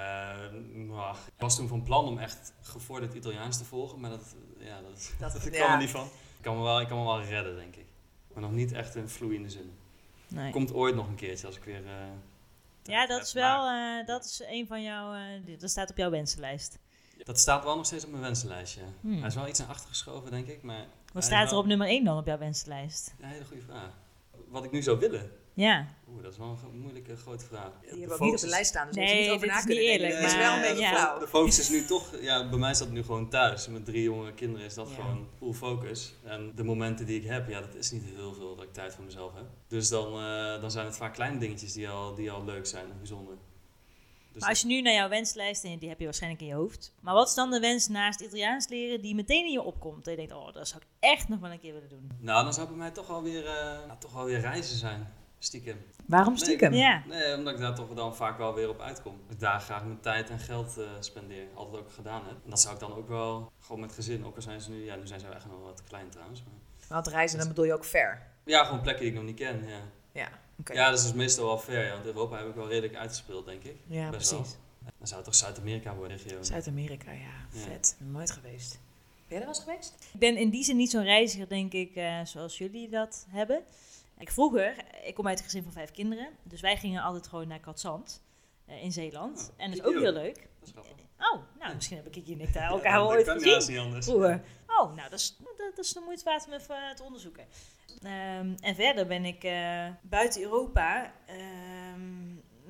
Speaker 4: nou, ik was toen van plan om echt gevorderd Italiaans te volgen, maar dat, ja, dat,
Speaker 1: Dat-
Speaker 4: dat, kwam
Speaker 1: ja.
Speaker 4: er niet van. Ik kan, me wel, ik kan me wel redden, denk ik. Maar nog niet echt in vloeiende zin.
Speaker 2: Nee.
Speaker 4: Komt ooit nog een keertje als ik weer... eh,
Speaker 2: Ja,
Speaker 4: tijd
Speaker 2: dat
Speaker 4: heb.
Speaker 2: is
Speaker 4: Maar
Speaker 2: wel... eh, dat is een van jouw... eh, dit- dat staat op jouw wensenlijst.
Speaker 4: dat staat wel nog steeds op mijn wensenlijstje.
Speaker 2: eh, Hmm.
Speaker 4: Hij is wel iets naar achter geschoven, denk ik, maar
Speaker 2: Wat
Speaker 4: Ja,
Speaker 2: staat er
Speaker 4: wel.
Speaker 2: op nummer 1 dan op jouw wensenlijst?
Speaker 4: een hele goede vraag. Wat ik nu zou willen?
Speaker 2: Ja.
Speaker 4: Oeh, dat is wel een gro- moeilijke grote vraag.
Speaker 1: Die hebben we ook niet op de lijst staan, dus we
Speaker 2: Nee,
Speaker 1: moeten niet over
Speaker 2: dit
Speaker 1: na
Speaker 2: is
Speaker 1: kunnen
Speaker 2: niet
Speaker 1: denken.
Speaker 2: eerlijk,
Speaker 1: Het is wel een
Speaker 2: maar
Speaker 1: beetje
Speaker 2: ja.
Speaker 1: flauw.
Speaker 4: De focus is nu toch, ja, bij mij staat het nu gewoon thuis. Met drie jonge kinderen is dat
Speaker 1: Ja.
Speaker 4: gewoon full focus. En de momenten die ik heb, ja, dat is niet heel veel dat ik tijd voor mezelf heb. Dus dan, eh, dan zijn het vaak kleine dingetjes die al, die al leuk zijn en bijzonder. Dus
Speaker 2: Maar als je nu naar jouw wenslijst, en die heb je waarschijnlijk in je hoofd. Maar wat is dan de wens naast Italiaans leren die meteen in je opkomt? Dat je denkt, oh, dat zou ik echt nog wel een keer willen doen.
Speaker 4: dat- nou, dan zou bij mij toch alweer, eh nou, toch alweer reizen zijn. Stiekem.
Speaker 1: Waarom
Speaker 4: Nee,
Speaker 1: stiekem?
Speaker 2: Ja.
Speaker 4: Nee, omdat ik daar toch dan vaak wel weer op uitkom. Dat Ik daar graag mijn tijd en geld eh, spendeer. Altijd ook gedaan heb. En dat zou ik dan ook wel gewoon met gezin. Ook al zijn ze nu, ja, nu zijn ze echt nog wel wat klein trouwens. Maar...
Speaker 1: Want reizen, dan bedoel je ook ver.
Speaker 4: Ja, gewoon plekken die ik nog niet ken. Ja.
Speaker 1: Ja. Oké.
Speaker 4: Ja, dus dat is meestal wel fair. Ja, want Europa heb ik wel redelijk uitgespeeld, denk ik.
Speaker 1: Ja,
Speaker 4: best wel.
Speaker 1: precies.
Speaker 4: Dan zou het toch Zuid-Amerika worden, regio.
Speaker 1: Zuid-Amerika, ja.
Speaker 4: Ja.
Speaker 1: Vet. Nooit geweest. Ben jij er wel eens geweest?
Speaker 2: Ik ben in die zin niet zo'n reiziger, denk ik, eh, zoals jullie dat hebben. Ik vroeger, ik kom uit een gezin van vijf kinderen, dus wij gingen altijd gewoon naar Katzand eh, in Zeeland.
Speaker 4: Oh,
Speaker 2: en dat is
Speaker 4: ik
Speaker 2: ook
Speaker 4: ook.
Speaker 2: heel leuk.
Speaker 4: Dat is grappig.
Speaker 2: Oh, nou, misschien heb ik hier niet daar elkaar
Speaker 4: Ja,
Speaker 2: al
Speaker 4: dat
Speaker 2: ooit
Speaker 4: kan
Speaker 2: gezien
Speaker 4: helaas niet anders.
Speaker 2: vroeger. Oh, nou, dat is, dat, dat is de moeite waard om even eh, te onderzoeken. Ehm, en verder ben ik eh, buiten Europa ehm,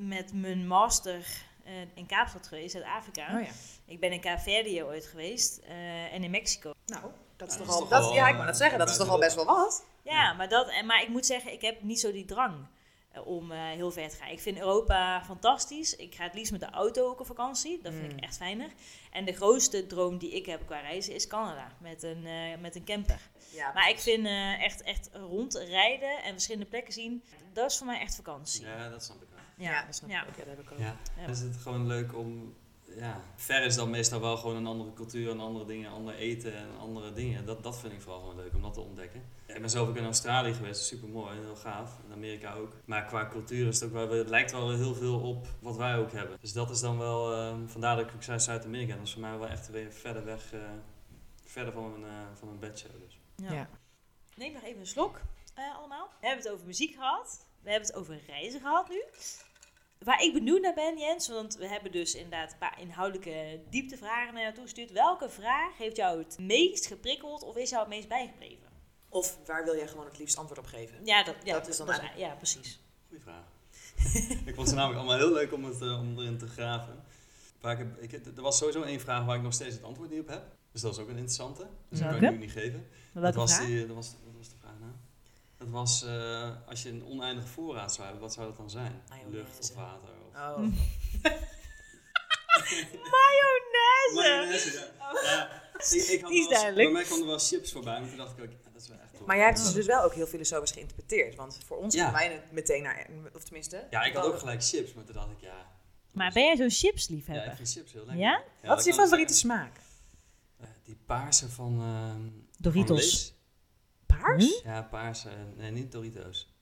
Speaker 2: met mijn master eh, in Kaapstad geweest, uit Afrika.
Speaker 1: Oh ja.
Speaker 2: Ik ben in Caverdio ooit geweest eh, en in Mexico.
Speaker 1: Nou, dat is
Speaker 4: Ja,
Speaker 1: toch
Speaker 4: dat is
Speaker 1: al...
Speaker 4: toch
Speaker 1: dat-
Speaker 4: wel,
Speaker 1: Ja, ik
Speaker 4: eh,
Speaker 1: wou dat zeggen. Dat is toch al best wel wat?
Speaker 2: Ja,
Speaker 4: Ja.
Speaker 2: Maar, dat, en- maar ik moet zeggen, ik heb niet zo die drang eh, om eh, heel ver te gaan. Ik vind Europa fantastisch. Ik ga het liefst met de auto ook op vakantie. Dat vind
Speaker 1: Mm.
Speaker 2: ik echt fijner. En de grootste droom die ik heb qua reizen is Canada met een, eh, met een camper.
Speaker 1: Ja.
Speaker 2: Maar ik vind eh, echt, echt rondrijden en verschillende plekken zien, dat is voor mij echt vakantie. Ja,
Speaker 4: Ja, dat snap ik wel.
Speaker 1: Ja, dat snap
Speaker 2: ja.
Speaker 1: ik. Ja, dat heb ik ook.
Speaker 4: Ja.
Speaker 2: Ja.
Speaker 4: Dan is het gewoon leuk om... Ja, ver is dan meestal wel gewoon een andere cultuur en andere dingen, ander eten en andere dingen. Dat, dat vind ik vooral gewoon leuk om dat te ontdekken. Ja, ik ben zelf ook in Australië geweest, super mooi, heel gaaf. In Amerika ook. Maar qua cultuur is het ook wel, het lijkt wel heel veel op wat wij ook hebben. Dus dat is dan wel, eh, vandaar dat ik ook zei Zuid-Amerika. Dat is voor mij wel echt weer verder weg, eh, verder van mijn, eh, van mijn bedshow. Dus.
Speaker 1: Ja.
Speaker 2: Neem nog even een slok, eh, allemaal. We hebben het over muziek gehad. We hebben het over reizen gehad nu. Waar ik benieuwd naar ben, Jens, want we hebben dus inderdaad een paar inhoudelijke dieptevragen naar jou toegestuurd. Welke vraag heeft jou het meest geprikkeld of is jou het meest bijgebleven?
Speaker 1: Of waar wil jij gewoon het liefst antwoord op geven?
Speaker 2: Ja, dat, ja,
Speaker 1: Dat is dan
Speaker 2: Ja, precies.
Speaker 4: Goeie vraag. ik vond ze namelijk allemaal heel leuk om, het, eh, om erin te graven. Waar ik, heb- ik, heb- er was sowieso één vraag waar ik nog steeds het antwoord niet op heb. Dus dat is ook een interessante. Dus dat kan
Speaker 2: Welke?
Speaker 4: ik nu niet geven.
Speaker 2: Maar
Speaker 4: dat
Speaker 2: welke
Speaker 4: was
Speaker 2: vraag?
Speaker 4: Die, dat was, wat was de vraag nou? Dat was, eh, als je een oneindige voorraad zou hebben, wat zou dat dan zijn?
Speaker 1: Mayonaise.
Speaker 4: Lucht of water? Of...
Speaker 2: [laughs]
Speaker 1: Oh.
Speaker 2: Mayonaise!
Speaker 4: Mayonaise, ja. Ja, ik, ik had
Speaker 2: Die is
Speaker 4: wel eens-
Speaker 2: duidelijk.
Speaker 4: Bij mij kwamen er wel chips voorbij, maar toen dacht ik ook, ja, dat is wel echt
Speaker 1: Maar jij hebt ze dus wel ook heel filosofisch geïnterpreteerd. Want voor ons
Speaker 4: Ja.
Speaker 1: gaan wij het meteen naar... Of tenminste...
Speaker 4: Ja, ik had
Speaker 1: dan-
Speaker 4: ook gelijk chips, maar toen dacht ik, ja...
Speaker 2: Maar ben jij zo'n
Speaker 4: Ja, ik
Speaker 2: chipsliefhebber?
Speaker 4: vind chips heel
Speaker 2: Ja?
Speaker 4: lekker. Ja,
Speaker 1: Wat
Speaker 4: dat
Speaker 1: is je
Speaker 4: kan
Speaker 1: favoriete
Speaker 4: zijn.
Speaker 1: smaak?
Speaker 4: Eh, die paarse van... ehm, Van
Speaker 2: Doritos.
Speaker 4: Lees?
Speaker 1: Paars?
Speaker 2: Hm?
Speaker 4: Ja, paarse. Nee, niet Doritos.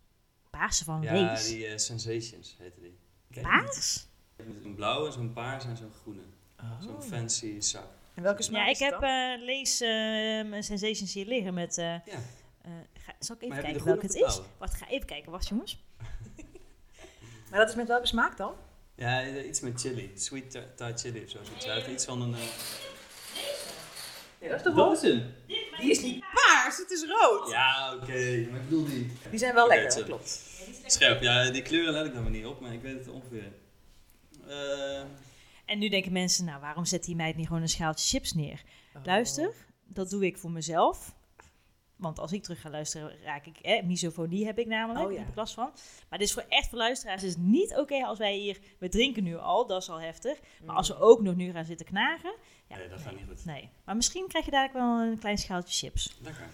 Speaker 2: Paarse van
Speaker 4: ja,
Speaker 2: Lees.
Speaker 4: die eh, Sensations heette die. Ken je
Speaker 2: Paars?
Speaker 4: die? Een blauwe, zo'n paars en zo'n groene.
Speaker 2: Oh.
Speaker 4: Zo'n fancy zak.
Speaker 1: En welke smaak
Speaker 2: Ja,
Speaker 4: nou
Speaker 2: ik
Speaker 1: is het
Speaker 2: heb
Speaker 1: dan?
Speaker 2: eh, Lees ehm Sensations hier liggen met... eh,
Speaker 4: Ja.
Speaker 2: eh, ga, zal ik even
Speaker 4: heb je de
Speaker 2: kijken
Speaker 4: groene
Speaker 2: welke het
Speaker 4: of de
Speaker 2: is?
Speaker 4: blauwe?
Speaker 2: Wacht, ga even kijken. Wacht jongens. eh,
Speaker 1: Maar dat is met welke smaak dan?
Speaker 4: Ja, eh, iets met chili. Sweet Tha- Thai chili of zo. zoiets. Hij heeft iets van een... eh,
Speaker 1: Nee, dat is toch
Speaker 4: dat is hem.
Speaker 1: Die is niet paars, het is rood.
Speaker 4: Ja, oké. Maar ik bedoel die.
Speaker 1: Die zijn wel
Speaker 4: Oké,
Speaker 1: lekker, dat
Speaker 4: chill.
Speaker 1: klopt.
Speaker 4: Scherp. Ja, die kleuren let ik dan maar niet op, maar ik weet het ongeveer. Eh,
Speaker 2: En nu denken mensen, nou waarom zet die meid niet gewoon een schaaltje chips neer?
Speaker 4: Oh.
Speaker 2: Oh. Luister, dat doe ik voor mezelf. Want als ik terug ga luisteren, raak ik... Eh, misofonie heb ik namelijk,
Speaker 1: Oh ja.
Speaker 2: daar heb ik last van. Maar dit is voor echt voor luisteraars is het niet oké als wij hier... We drinken nu al, dat is al heftig. Maar als we ook nog nu gaan zitten knagen... Ja,
Speaker 4: Mm. Nee, dat gaat niet goed.
Speaker 2: Nee, maar misschien krijg je dadelijk wel een klein schaaltje chips.
Speaker 4: Lekker.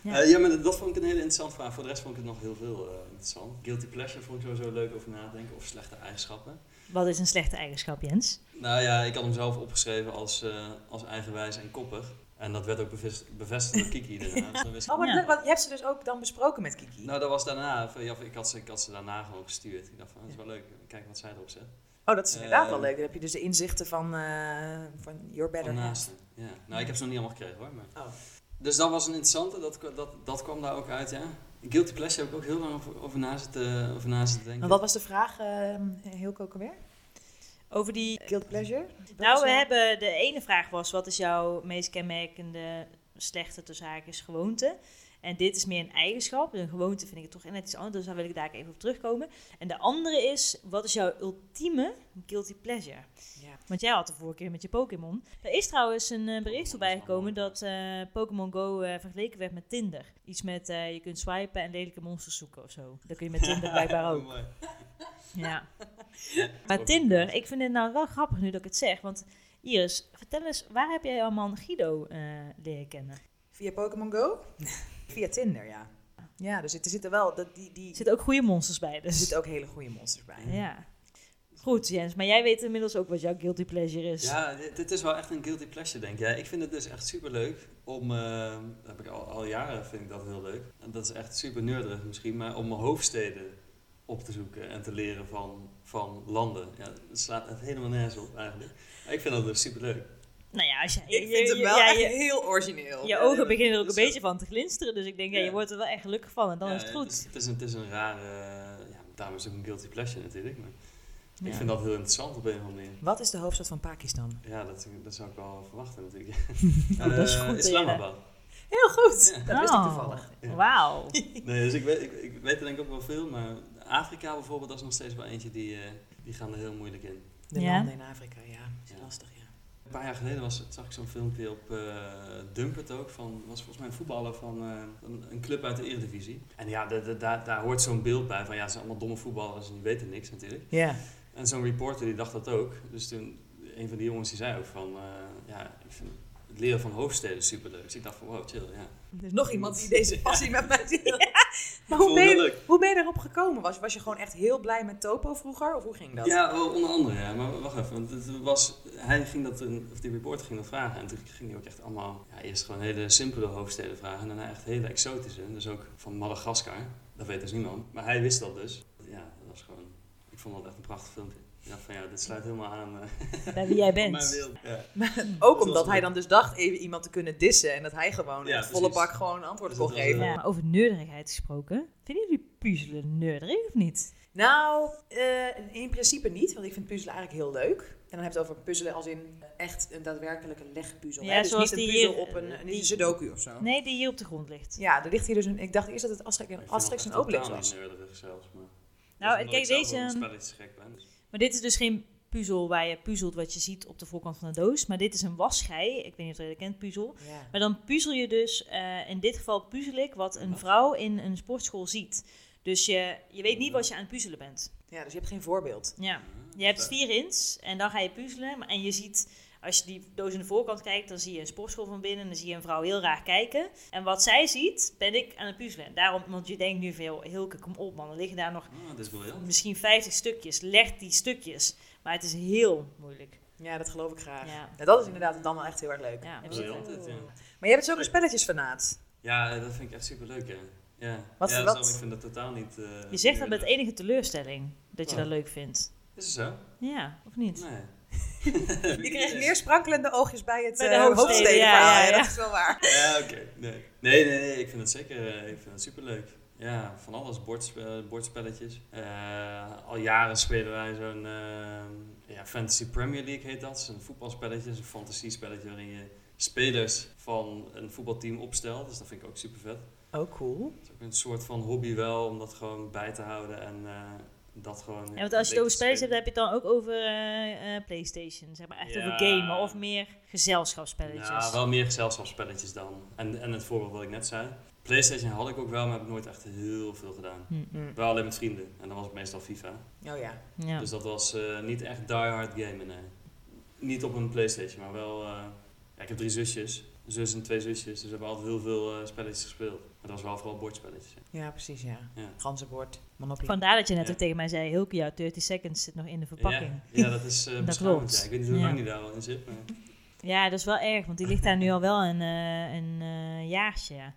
Speaker 2: Ja.
Speaker 4: Ja. Eh, ja, maar dat vond ik een hele interessante vraag. Voor de rest vond ik het nog heel veel eh, interessant. Guilty pleasure vond ik sowieso leuk over nadenken. Of slechte eigenschappen.
Speaker 2: Wat is een slechte eigenschap, Jens?
Speaker 4: Nou ja, ik had hem zelf opgeschreven als, eh, als eigenwijs en koppig. En dat werd ook bevestigd, bevestigd door Kiki daarna. Dus dan wist ik-
Speaker 1: Oh, maar
Speaker 2: Ja.
Speaker 1: dat- want je hebt ze dus ook dan besproken met Kiki.
Speaker 4: Nou, dat was daarna. van, ja, ik, had ze, ik had ze daarna gewoon gestuurd. Ik dacht van, dat is wel leuk. Kijk wat zij erop zet.
Speaker 1: Oh, dat is inderdaad wel
Speaker 4: Eh,
Speaker 1: leuk. Dan heb je dus de inzichten van, eh, van Your Better
Speaker 4: Van
Speaker 1: Half.
Speaker 4: naasten. Ja. Nou, ik heb ze nog niet allemaal gekregen hoor. Maar...
Speaker 1: Oh.
Speaker 4: Dus dat was een interessante. Dat, kwa- dat, dat kwam daar ook uit, ja. Guilty pleasure heb ik ook heel lang over, over, na, zitten, over na zitten denken.
Speaker 1: Maar wat was de vraag, heel Hilke ook alweer?
Speaker 2: Over die...
Speaker 1: Guilt Pleasure?
Speaker 2: Nou, we hebben... De ene vraag was, wat is jouw meest kenmerkende slechte tussen haakjes gewoonte? En dit is meer een eigenschap. Een gewoonte vind ik het toch net iets anders. Dus daar wil ik daar even op terugkomen. En de andere is, wat is jouw ultieme guilty pleasure?
Speaker 1: Ja.
Speaker 2: Want jij had de vorige keer met je Pokémon. Er is trouwens een eh, bericht voorbij gekomen dat eh, Pokémon Go eh, vergeleken werd met Tinder. Iets met eh, je kunt swipen en lelijke monsters zoeken of zo. Dat kun je met Tinder [laughs] blijkbaar ook.
Speaker 4: Mooi.
Speaker 2: Ja. Maar Tinder, ik vind het nou wel grappig nu dat ik het zeg. Want Iris, vertel eens, waar heb jij allemaal Guido eh, leren kennen?
Speaker 1: Via Pokémon Go? Via Tinder, ja. Ja, dus er zitten wel... Dat, die, die,
Speaker 2: Er zitten ook goede monsters bij,
Speaker 1: er
Speaker 2: dus.
Speaker 1: zitten ook hele goede monsters bij.
Speaker 2: Ja. Goed, Jens, maar jij weet inmiddels ook wat jouw guilty pleasure is.
Speaker 4: Ja, dit, dit is wel echt een guilty pleasure, denk ik. Ja, ik vind het dus echt super leuk om, eh, dat heb ik al, al jaren vind ik dat heel leuk. En dat is echt super nerdig misschien, maar om mijn hoofdsteden op te zoeken en te leren van, van landen. Ja, het slaat echt helemaal nergens op eigenlijk. Maar ik vind dat dus superleuk.
Speaker 2: Nou ja, als je,
Speaker 1: Ik
Speaker 2: je-
Speaker 1: vind het
Speaker 2: je-
Speaker 1: wel
Speaker 2: ja,
Speaker 1: echt
Speaker 2: je-
Speaker 1: heel origineel.
Speaker 2: je
Speaker 4: ja,
Speaker 2: ogen
Speaker 4: ja,
Speaker 2: beginnen er ook een
Speaker 4: dat is
Speaker 2: beetje van te glinsteren. Dus ik denk, ja,
Speaker 4: Ja.
Speaker 2: je wordt er wel echt gelukkig van en dan
Speaker 4: Ja,
Speaker 2: is het
Speaker 4: Het is,
Speaker 2: goed.
Speaker 4: het is een, het is een rare... Ja, daarom is het ook een guilty pleasure natuurlijk. Maar
Speaker 2: Ja.
Speaker 4: Ik vind dat heel interessant op een of andere manier.
Speaker 1: Wat is de hoofdstad van Pakistan?
Speaker 4: Ja, dat, dat zou ik wel verwachten
Speaker 2: [laughs]
Speaker 4: natuurlijk.
Speaker 2: dat is
Speaker 4: Eh,
Speaker 2: goed,
Speaker 4: Islamabad.
Speaker 1: Heel goed. Dat wist ik
Speaker 2: Oh,
Speaker 1: toevallig.
Speaker 4: Ja. [laughs]
Speaker 2: Wauw.
Speaker 4: Nee, dus ik weet, ik, ik weet er denk ik ook wel veel, maar Afrika bijvoorbeeld, dat is nog steeds wel eentje die, eh, die gaan er heel moeilijk in.
Speaker 1: De
Speaker 2: Ja.
Speaker 1: landen in Afrika, ja. Is
Speaker 4: Ja.
Speaker 1: lastig, ja.
Speaker 4: Een paar jaar geleden was, zag ik zo'n filmpje op eh Dumpert ook, van, was volgens mij een voetballer van eh, een, een club uit de Eredivisie. En ja, de, de- daar, daar hoort zo'n beeld bij van ja, ze zijn allemaal domme voetballers en die weten niks natuurlijk.
Speaker 1: Ja.
Speaker 4: En zo'n reporter die dacht dat ook. Dus toen, een van die jongens die zei ook van, eh, ja, ik vind het leren van hoofdsteden superleuk. Dus ik dacht van, wow, chill, ja.
Speaker 1: Er is nog iemand die deze passie met mij deelt. Maar
Speaker 4: Ik
Speaker 1: hoe
Speaker 4: voel
Speaker 1: ben,
Speaker 4: me
Speaker 1: je,
Speaker 4: leuk.
Speaker 1: hoe ben je erop gekomen? Was, was je gewoon echt heel blij met Topo vroeger? Of hoe ging dat?
Speaker 4: Ja, wel onder andere. Ja. Maar wacht even, want het was, hij ging dat, een- of die reporter ging dat vragen. En toen ging hij ook echt allemaal, ja, eerst gewoon hele simpele hoofdsteden vragen. En daarna echt hele exotische. Dus ook van Madagaskar. Dat weet dus niemand. Maar hij wist dat dus. Ja, dat was gewoon, ik vond dat echt een prachtig filmpje. Ik dacht van ja, dit sluit helemaal aan eh,
Speaker 2: Bij wie jij
Speaker 4: mijn
Speaker 2: bent.
Speaker 4: wereld. Ja.
Speaker 1: Ook
Speaker 4: Dat
Speaker 1: omdat
Speaker 4: was
Speaker 1: hij
Speaker 4: leuk.
Speaker 1: dan dus dacht even iemand te kunnen dissen. En dat hij gewoon
Speaker 4: Ja,
Speaker 1: het volle
Speaker 4: precies.
Speaker 1: bak gewoon antwoorden kon
Speaker 4: Dus dat was, eh,
Speaker 1: geven.
Speaker 2: Ja, maar over neurderigheid gesproken. Vinden jullie puzzelen neurderig of niet?
Speaker 1: Nou, eh, in principe niet. Want ik vind puzzelen eigenlijk heel leuk. En dan heb je het over puzzelen als in echt een daadwerkelijke legpuzzel.
Speaker 2: Ja,
Speaker 1: hè? dus
Speaker 2: zoals
Speaker 1: niet een
Speaker 2: die
Speaker 1: puzzel
Speaker 2: hier,
Speaker 1: op een,
Speaker 2: eh,
Speaker 1: niet
Speaker 2: die-
Speaker 1: een sudoku of zo.
Speaker 2: Nee, die hier op de grond ligt.
Speaker 1: Ja, er ligt hier dus een... Ik dacht eerst dat het
Speaker 4: Ik vind
Speaker 1: Asterix-
Speaker 4: dat
Speaker 1: Asterix en
Speaker 4: echt
Speaker 1: Obelix
Speaker 4: totaal
Speaker 1: was.
Speaker 4: niet neurderig zelfs, maar...
Speaker 2: Nou,
Speaker 4: dat is
Speaker 2: kijk,
Speaker 4: omdat ik zelf
Speaker 2: deze-
Speaker 4: wel met spelletjes gek ben. Dus-
Speaker 2: Maar dit is dus geen puzzel waar je puzzelt wat je ziet op de voorkant van de doos. Maar dit is een waschij. Ik weet niet of je dat kent, puzzel.
Speaker 1: Ja.
Speaker 2: Maar dan puzzel je dus, eh, in dit geval puzzel ik, wat een
Speaker 4: Wat?
Speaker 2: vrouw in een sportschool ziet. Dus je, je weet niet wat je aan het puzzelen bent.
Speaker 1: ja, dus je hebt geen voorbeeld.
Speaker 2: Ja.
Speaker 4: Ah,
Speaker 2: Je hebt
Speaker 4: vet.
Speaker 2: vier ins en dan ga je puzzelen. Maar- En je ziet, als je die doos aan de voorkant kijkt, dan zie je een sportschool van binnen. En dan zie je een vrouw heel raar kijken. En wat zij ziet, ben ik aan het puzzelen. Daarom, want je denkt nu veel, Hilke, kom op man. Er liggen daar nog
Speaker 4: Ah, dat is briljant.
Speaker 2: misschien 50 stukjes. Leg die stukjes. Maar het is heel moeilijk.
Speaker 1: Ja, dat geloof ik graag.
Speaker 2: Ja.
Speaker 1: Nou, dat is inderdaad dan wel echt heel erg leuk.
Speaker 2: Ja,
Speaker 4: Dat is briljant, dit, ja.
Speaker 1: Maar jij bent dus ook een spelletjesfanaat.
Speaker 4: Ja, dat vind ik echt superleuk, hè. Ja,
Speaker 1: Wat-
Speaker 4: ja
Speaker 1: wat-
Speaker 4: daarom, ik vind dat totaal niet... eh,
Speaker 2: Je zegt dat met
Speaker 4: neurderig.
Speaker 2: enige teleurstelling dat je
Speaker 4: Ja.
Speaker 2: dat leuk vindt.
Speaker 4: Is het zo?
Speaker 2: Ja, of niet?
Speaker 4: Nee.
Speaker 1: Je kreeg meer sprankelende oogjes bij het
Speaker 2: Bij de
Speaker 1: eh,
Speaker 2: hoofdsteden,
Speaker 1: hoofdstedenverhaal.
Speaker 2: ja, ja,
Speaker 1: Ja,
Speaker 2: ja.
Speaker 1: dat is wel waar.
Speaker 4: Ja, oké. Nee. nee, nee, nee, ik vind dat zeker eh, ik vind dat superleuk. Ja, van alles, bordspe- bordspelletjes. Eh, al jaren spelen wij zo'n eh, ja, Fantasy Premier League heet dat. Dat is een voetbalspelletje, dat is een fantasiespelletje waarin je spelers van een voetbalteam opstelt. Dus dat vind ik ook super vet.
Speaker 1: Oh, cool.
Speaker 4: Het is ook een soort van hobby wel, om dat gewoon bij te houden en eh, dat gewoon...
Speaker 2: Ja, want als je het
Speaker 4: een beetje te
Speaker 2: over spelletjes hebt,
Speaker 4: spelen.
Speaker 2: heb je het dan ook over eh, eh, PlayStation. Zeg maar echt
Speaker 4: Ja.
Speaker 2: over gamen of meer gezelschapsspelletjes.
Speaker 4: Ja, wel meer gezelschapsspelletjes dan. En, en het voorbeeld wat ik net zei. Playstation had ik ook wel, maar heb ik nooit echt heel veel gedaan.
Speaker 2: Hm, Mm.
Speaker 4: Wel alleen met vrienden. En dan was het meestal FIFA.
Speaker 1: Oh ja.
Speaker 2: Ja.
Speaker 4: Dus dat was eh, niet echt diehard gamen, nee. Niet op een Playstation, maar wel... eh, ja, ik heb drie zusjes. Een zus en twee zusjes. Dus we hebben altijd heel veel eh, spelletjes gespeeld. Maar dat was wel vooral bordspelletjes. ja.
Speaker 1: Ja, precies, ja.
Speaker 4: Ja.
Speaker 1: Ganzenbord, Monopoly.
Speaker 2: Vandaar dat je net
Speaker 4: Ja.
Speaker 2: ook tegen mij zei, Hilke, jouw 30 seconds zit nog in de verpakking.
Speaker 4: Ja, ja, dat is eh
Speaker 2: [laughs] Dat
Speaker 4: beschamend,
Speaker 2: klopt.
Speaker 4: ja. Ik weet niet hoe lang
Speaker 2: Ja.
Speaker 4: die daar al in zit, maar...
Speaker 2: Ja, dat is wel erg, want die ligt daar nu al wel een, eh, een eh, jaartje. Ja.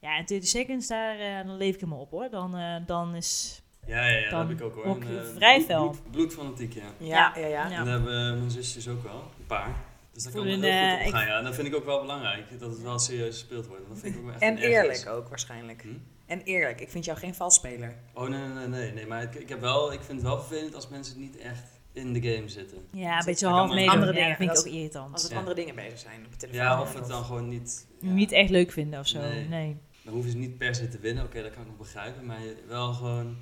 Speaker 2: ja, en 30 seconds, daar eh, dan leef ik hem op hoor. Dan, eh, dan is...
Speaker 4: Ja, ja, ja
Speaker 2: Dan
Speaker 4: dat heb ik ook hoor.
Speaker 2: ook
Speaker 4: En, eh,
Speaker 2: vrij
Speaker 4: bloed-
Speaker 2: fel.
Speaker 4: bloed- Bloedfanatiek, ja.
Speaker 1: Ja, ja, ja.
Speaker 2: Ja.
Speaker 1: ja.
Speaker 4: En dat hebben mijn zusjes ook wel, een paar. Dus dat kan
Speaker 2: Voor
Speaker 4: wel
Speaker 2: hun,
Speaker 4: heel goed
Speaker 2: eh,
Speaker 4: opgaan. Ja. En dat vind ik ook wel belangrijk, dat het wel serieus gespeeld wordt. Dat vind ik ook wel echt
Speaker 1: En
Speaker 4: een ergernis.
Speaker 1: eerlijk ook waarschijnlijk.
Speaker 4: Hm?
Speaker 1: En eerlijk, ik vind jou geen valsspeler.
Speaker 4: Oh nee, nee, nee, nee. nee maar ik, ik, heb wel, ik vind het wel vervelend als mensen niet echt in de game zitten.
Speaker 2: Ja, een
Speaker 4: Dat
Speaker 2: beetje
Speaker 4: kan
Speaker 2: half
Speaker 4: maar
Speaker 2: meedoen.
Speaker 1: andere
Speaker 2: Ja,
Speaker 1: dingen.
Speaker 2: dat vind ik
Speaker 1: Dat
Speaker 2: ook irritant.
Speaker 1: Als het
Speaker 4: Ja.
Speaker 1: andere dingen bezig zijn op de telefoon.
Speaker 4: Ja, of het dan gewoon niet... ja,
Speaker 2: Niet e- echt leuk vinden of zo.
Speaker 4: Nee.
Speaker 2: nee.
Speaker 4: Dan hoeven ze niet per se te winnen, oké, dat kan ik nog begrijpen. Maar je- wel gewoon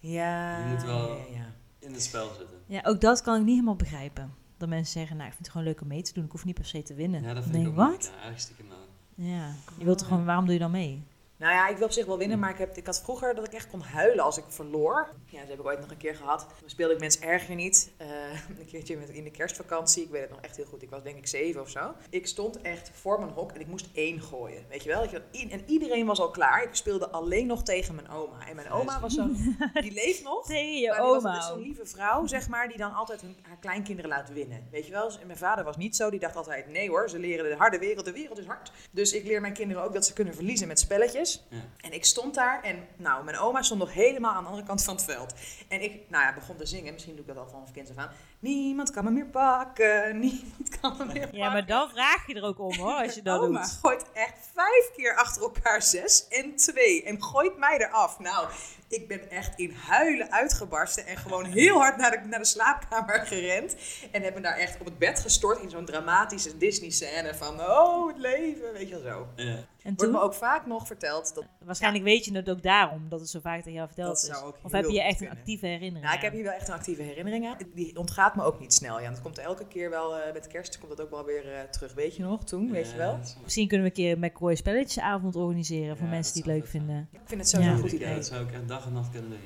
Speaker 1: Ja,
Speaker 4: Je moet wel-
Speaker 1: ja, ja.
Speaker 4: in het spel zitten.
Speaker 2: Ja, ook dat kan ik niet helemaal begrijpen. Dat mensen zeggen, nou, ik vind het gewoon leuk om mee te doen. Ik hoef niet per se te winnen.
Speaker 4: Ja, dat
Speaker 2: Dan
Speaker 4: vind ik ook
Speaker 2: denk
Speaker 4: moeilijk.
Speaker 2: wat?
Speaker 4: Ja, eigenlijk stiekem wel.
Speaker 2: Ja. Je wilt toch gewoon, waarom doe je dan mee?
Speaker 1: Nou ja, ik wil op zich wel winnen, maar ik, heb, ik had vroeger dat ik echt kon huilen als ik verloor. Ja, dat heb ik ooit nog een keer gehad. Dan speelde ik Mens Erger niet. Eh, [laughs] een keertje met, in de kerstvakantie, ik weet het nog echt heel goed. Ik was denk ik zeven of zo. Ik stond echt voor mijn hok en ik moest één gooien. Weet je wel? Dat je dan i- en iedereen was al klaar. Ik speelde alleen nog tegen mijn oma. En mijn oma was zo,
Speaker 4: [laughs]
Speaker 1: die leeft nog.
Speaker 2: Tegen je
Speaker 1: maar die was
Speaker 2: oma.
Speaker 1: altijd zo'n lieve vrouw, zeg maar, die dan altijd hun, haar kleinkinderen laat winnen. Weet je wel? En mijn vader was niet zo. Dus Die dacht altijd, nee hoor, ze leren de harde wereld. De wereld is hard. Dus ik leer mijn kinderen ook dat ze kunnen verliezen met spelletjes. is.
Speaker 4: Ja.
Speaker 1: En ik stond daar en nou, mijn oma stond nog helemaal aan de andere kant van het veld. En ik, nou ja, begon te zingen. Misschien doe ik dat al vanaf kind af aan. Niemand kan me meer pakken, [laughs] niemand kan me meer pakken.
Speaker 2: Ja, maar dan vraag je er ook om hoor, als je dat
Speaker 1: Oma
Speaker 2: doet.
Speaker 1: gooit echt vijf keer achter elkaar zes en twee. En gooit mij eraf. Nou, ik ben echt in huilen uitgebarsten. En gewoon heel hard naar de, naar de slaapkamer gerend. En heb me daar echt op het bed gestort in zo'n dramatische Disney-scène. Van, oh, het leven, weet je wel zo.
Speaker 4: Ja.
Speaker 2: En
Speaker 1: Wordt me
Speaker 2: toen,
Speaker 1: ook vaak nog verteld dat...
Speaker 2: waarschijnlijk weet je het ook daarom, dat het zo vaak tegen jou verteld
Speaker 1: Dat
Speaker 2: is.
Speaker 1: zou ook
Speaker 2: of
Speaker 1: heel
Speaker 2: heb je
Speaker 1: goed
Speaker 2: echt een
Speaker 1: kunnen.
Speaker 2: actieve herinnering?
Speaker 1: Nou, ik heb
Speaker 2: aan?
Speaker 1: hier wel echt een actieve herinnering aan. Die ontgaat me ook niet snel, Jan. Dat komt elke keer wel, eh, met kerst komt dat ook wel weer eh, terug. Weet je nog, toen, weet je wel?
Speaker 4: Ja, dat is wel-
Speaker 2: Misschien kunnen we een keer een McCoy spelletjesavond organiseren voor
Speaker 4: Ja,
Speaker 2: mensen die
Speaker 4: dat
Speaker 2: het leuk
Speaker 4: zou
Speaker 2: vinden.
Speaker 1: Ik vind het sowieso
Speaker 2: Ja.
Speaker 1: een goed
Speaker 4: Ja,
Speaker 1: idee.
Speaker 4: dat zou ik echt dag en nacht kunnen doen,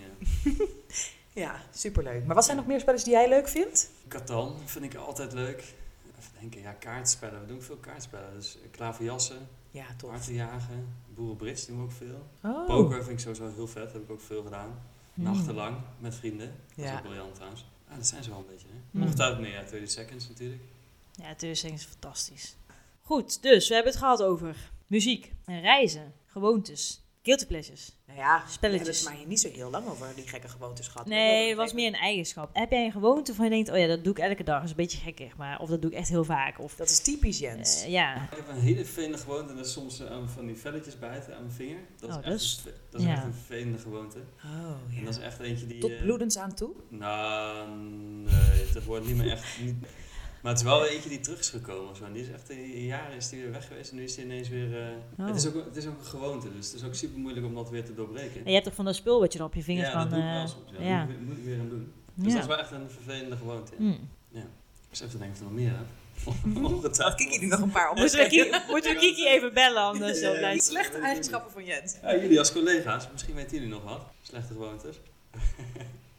Speaker 4: ja.
Speaker 1: Ja, superleuk. Maar wat zijn nog meer spelletjes die jij leuk vindt?
Speaker 4: Catan vind ik altijd leuk. Even denken, ja, kaartspellen. We doen veel kaartspellen. Dus eh, klaverjassen,
Speaker 1: Ja, tof.
Speaker 4: hartenjagen, boerenbrits doen we ook veel.
Speaker 2: Oh.
Speaker 4: Poker vind ik sowieso heel vet, heb ik ook veel gedaan.
Speaker 2: Hmm.
Speaker 4: Nachtenlang met vrienden. Dat is
Speaker 1: Ja.
Speaker 4: ook briljant trouwens. Ah, dat zijn ze wel een beetje, hè?
Speaker 2: Hmm.
Speaker 4: Ongetwijfeld meer, ja, 30 seconds natuurlijk.
Speaker 2: Ja, Turing is fantastisch. Goed, dus we hebben het gehad over muziek, en reizen, gewoontes, guilty pleasures.
Speaker 1: Nou ja,
Speaker 2: Spelletjes.
Speaker 1: we hebben het maar hier niet zo heel lang over die gekke gewoontes gehad.
Speaker 2: Nee, het was meer een eigenschap. Heb jij een gewoonte van je denkt, oh ja, dat doe ik elke dag, is een beetje gekkig, maar of dat doe ik echt heel vaak. Of,
Speaker 1: Dat is typisch Jens.
Speaker 2: eh, ja,
Speaker 4: Ik heb een hele vervelende gewoonte en dat is soms eh, aan van die velletjes bijten aan mijn vinger. Dat is,
Speaker 2: Oh,
Speaker 4: echt,
Speaker 2: dat is-
Speaker 4: een, ve- dat is
Speaker 2: ja.
Speaker 4: echt een vervelende gewoonte.
Speaker 1: oh,
Speaker 4: En dat is echt eentje die...
Speaker 1: Tot
Speaker 4: eh,
Speaker 1: bloedens aan toe?
Speaker 4: Nou, nee, dat wordt niet meer echt. Niet... Maar het is wel eentje die terug is gekomen. Zo. En die is echt in jaren is die weer weg geweest en nu is die ineens weer. eh,
Speaker 2: Oh.
Speaker 4: het, is ook, het is ook een gewoonte, dus het is ook super moeilijk om dat weer te doorbreken.
Speaker 2: en je hebt toch van dat spul wat je dan op je vingers
Speaker 4: ja,
Speaker 2: kan...
Speaker 4: dat doe ik wel
Speaker 2: eh,
Speaker 4: soms. Ja.
Speaker 2: ja.
Speaker 4: Daar moet, ik- moet ik weer aan doen. Dus
Speaker 2: ja.
Speaker 4: dat is wel echt een vervelende gewoonte.
Speaker 2: Hmm.
Speaker 4: Ik zou even denken of er nog meer [laughs] heb.
Speaker 2: Mm-hmm.
Speaker 4: Ah,
Speaker 1: Dat kijk ik nu nog een
Speaker 2: [laughs]
Speaker 1: paar
Speaker 2: Moeten we, Kiki, moeten we Kiki even bellen anders?
Speaker 4: Ja.
Speaker 2: dan blijft-
Speaker 1: Slechte eigenschappen van Jens.
Speaker 4: Ja, jullie als collega's, misschien weten jullie nog wat. Slechte gewoontes.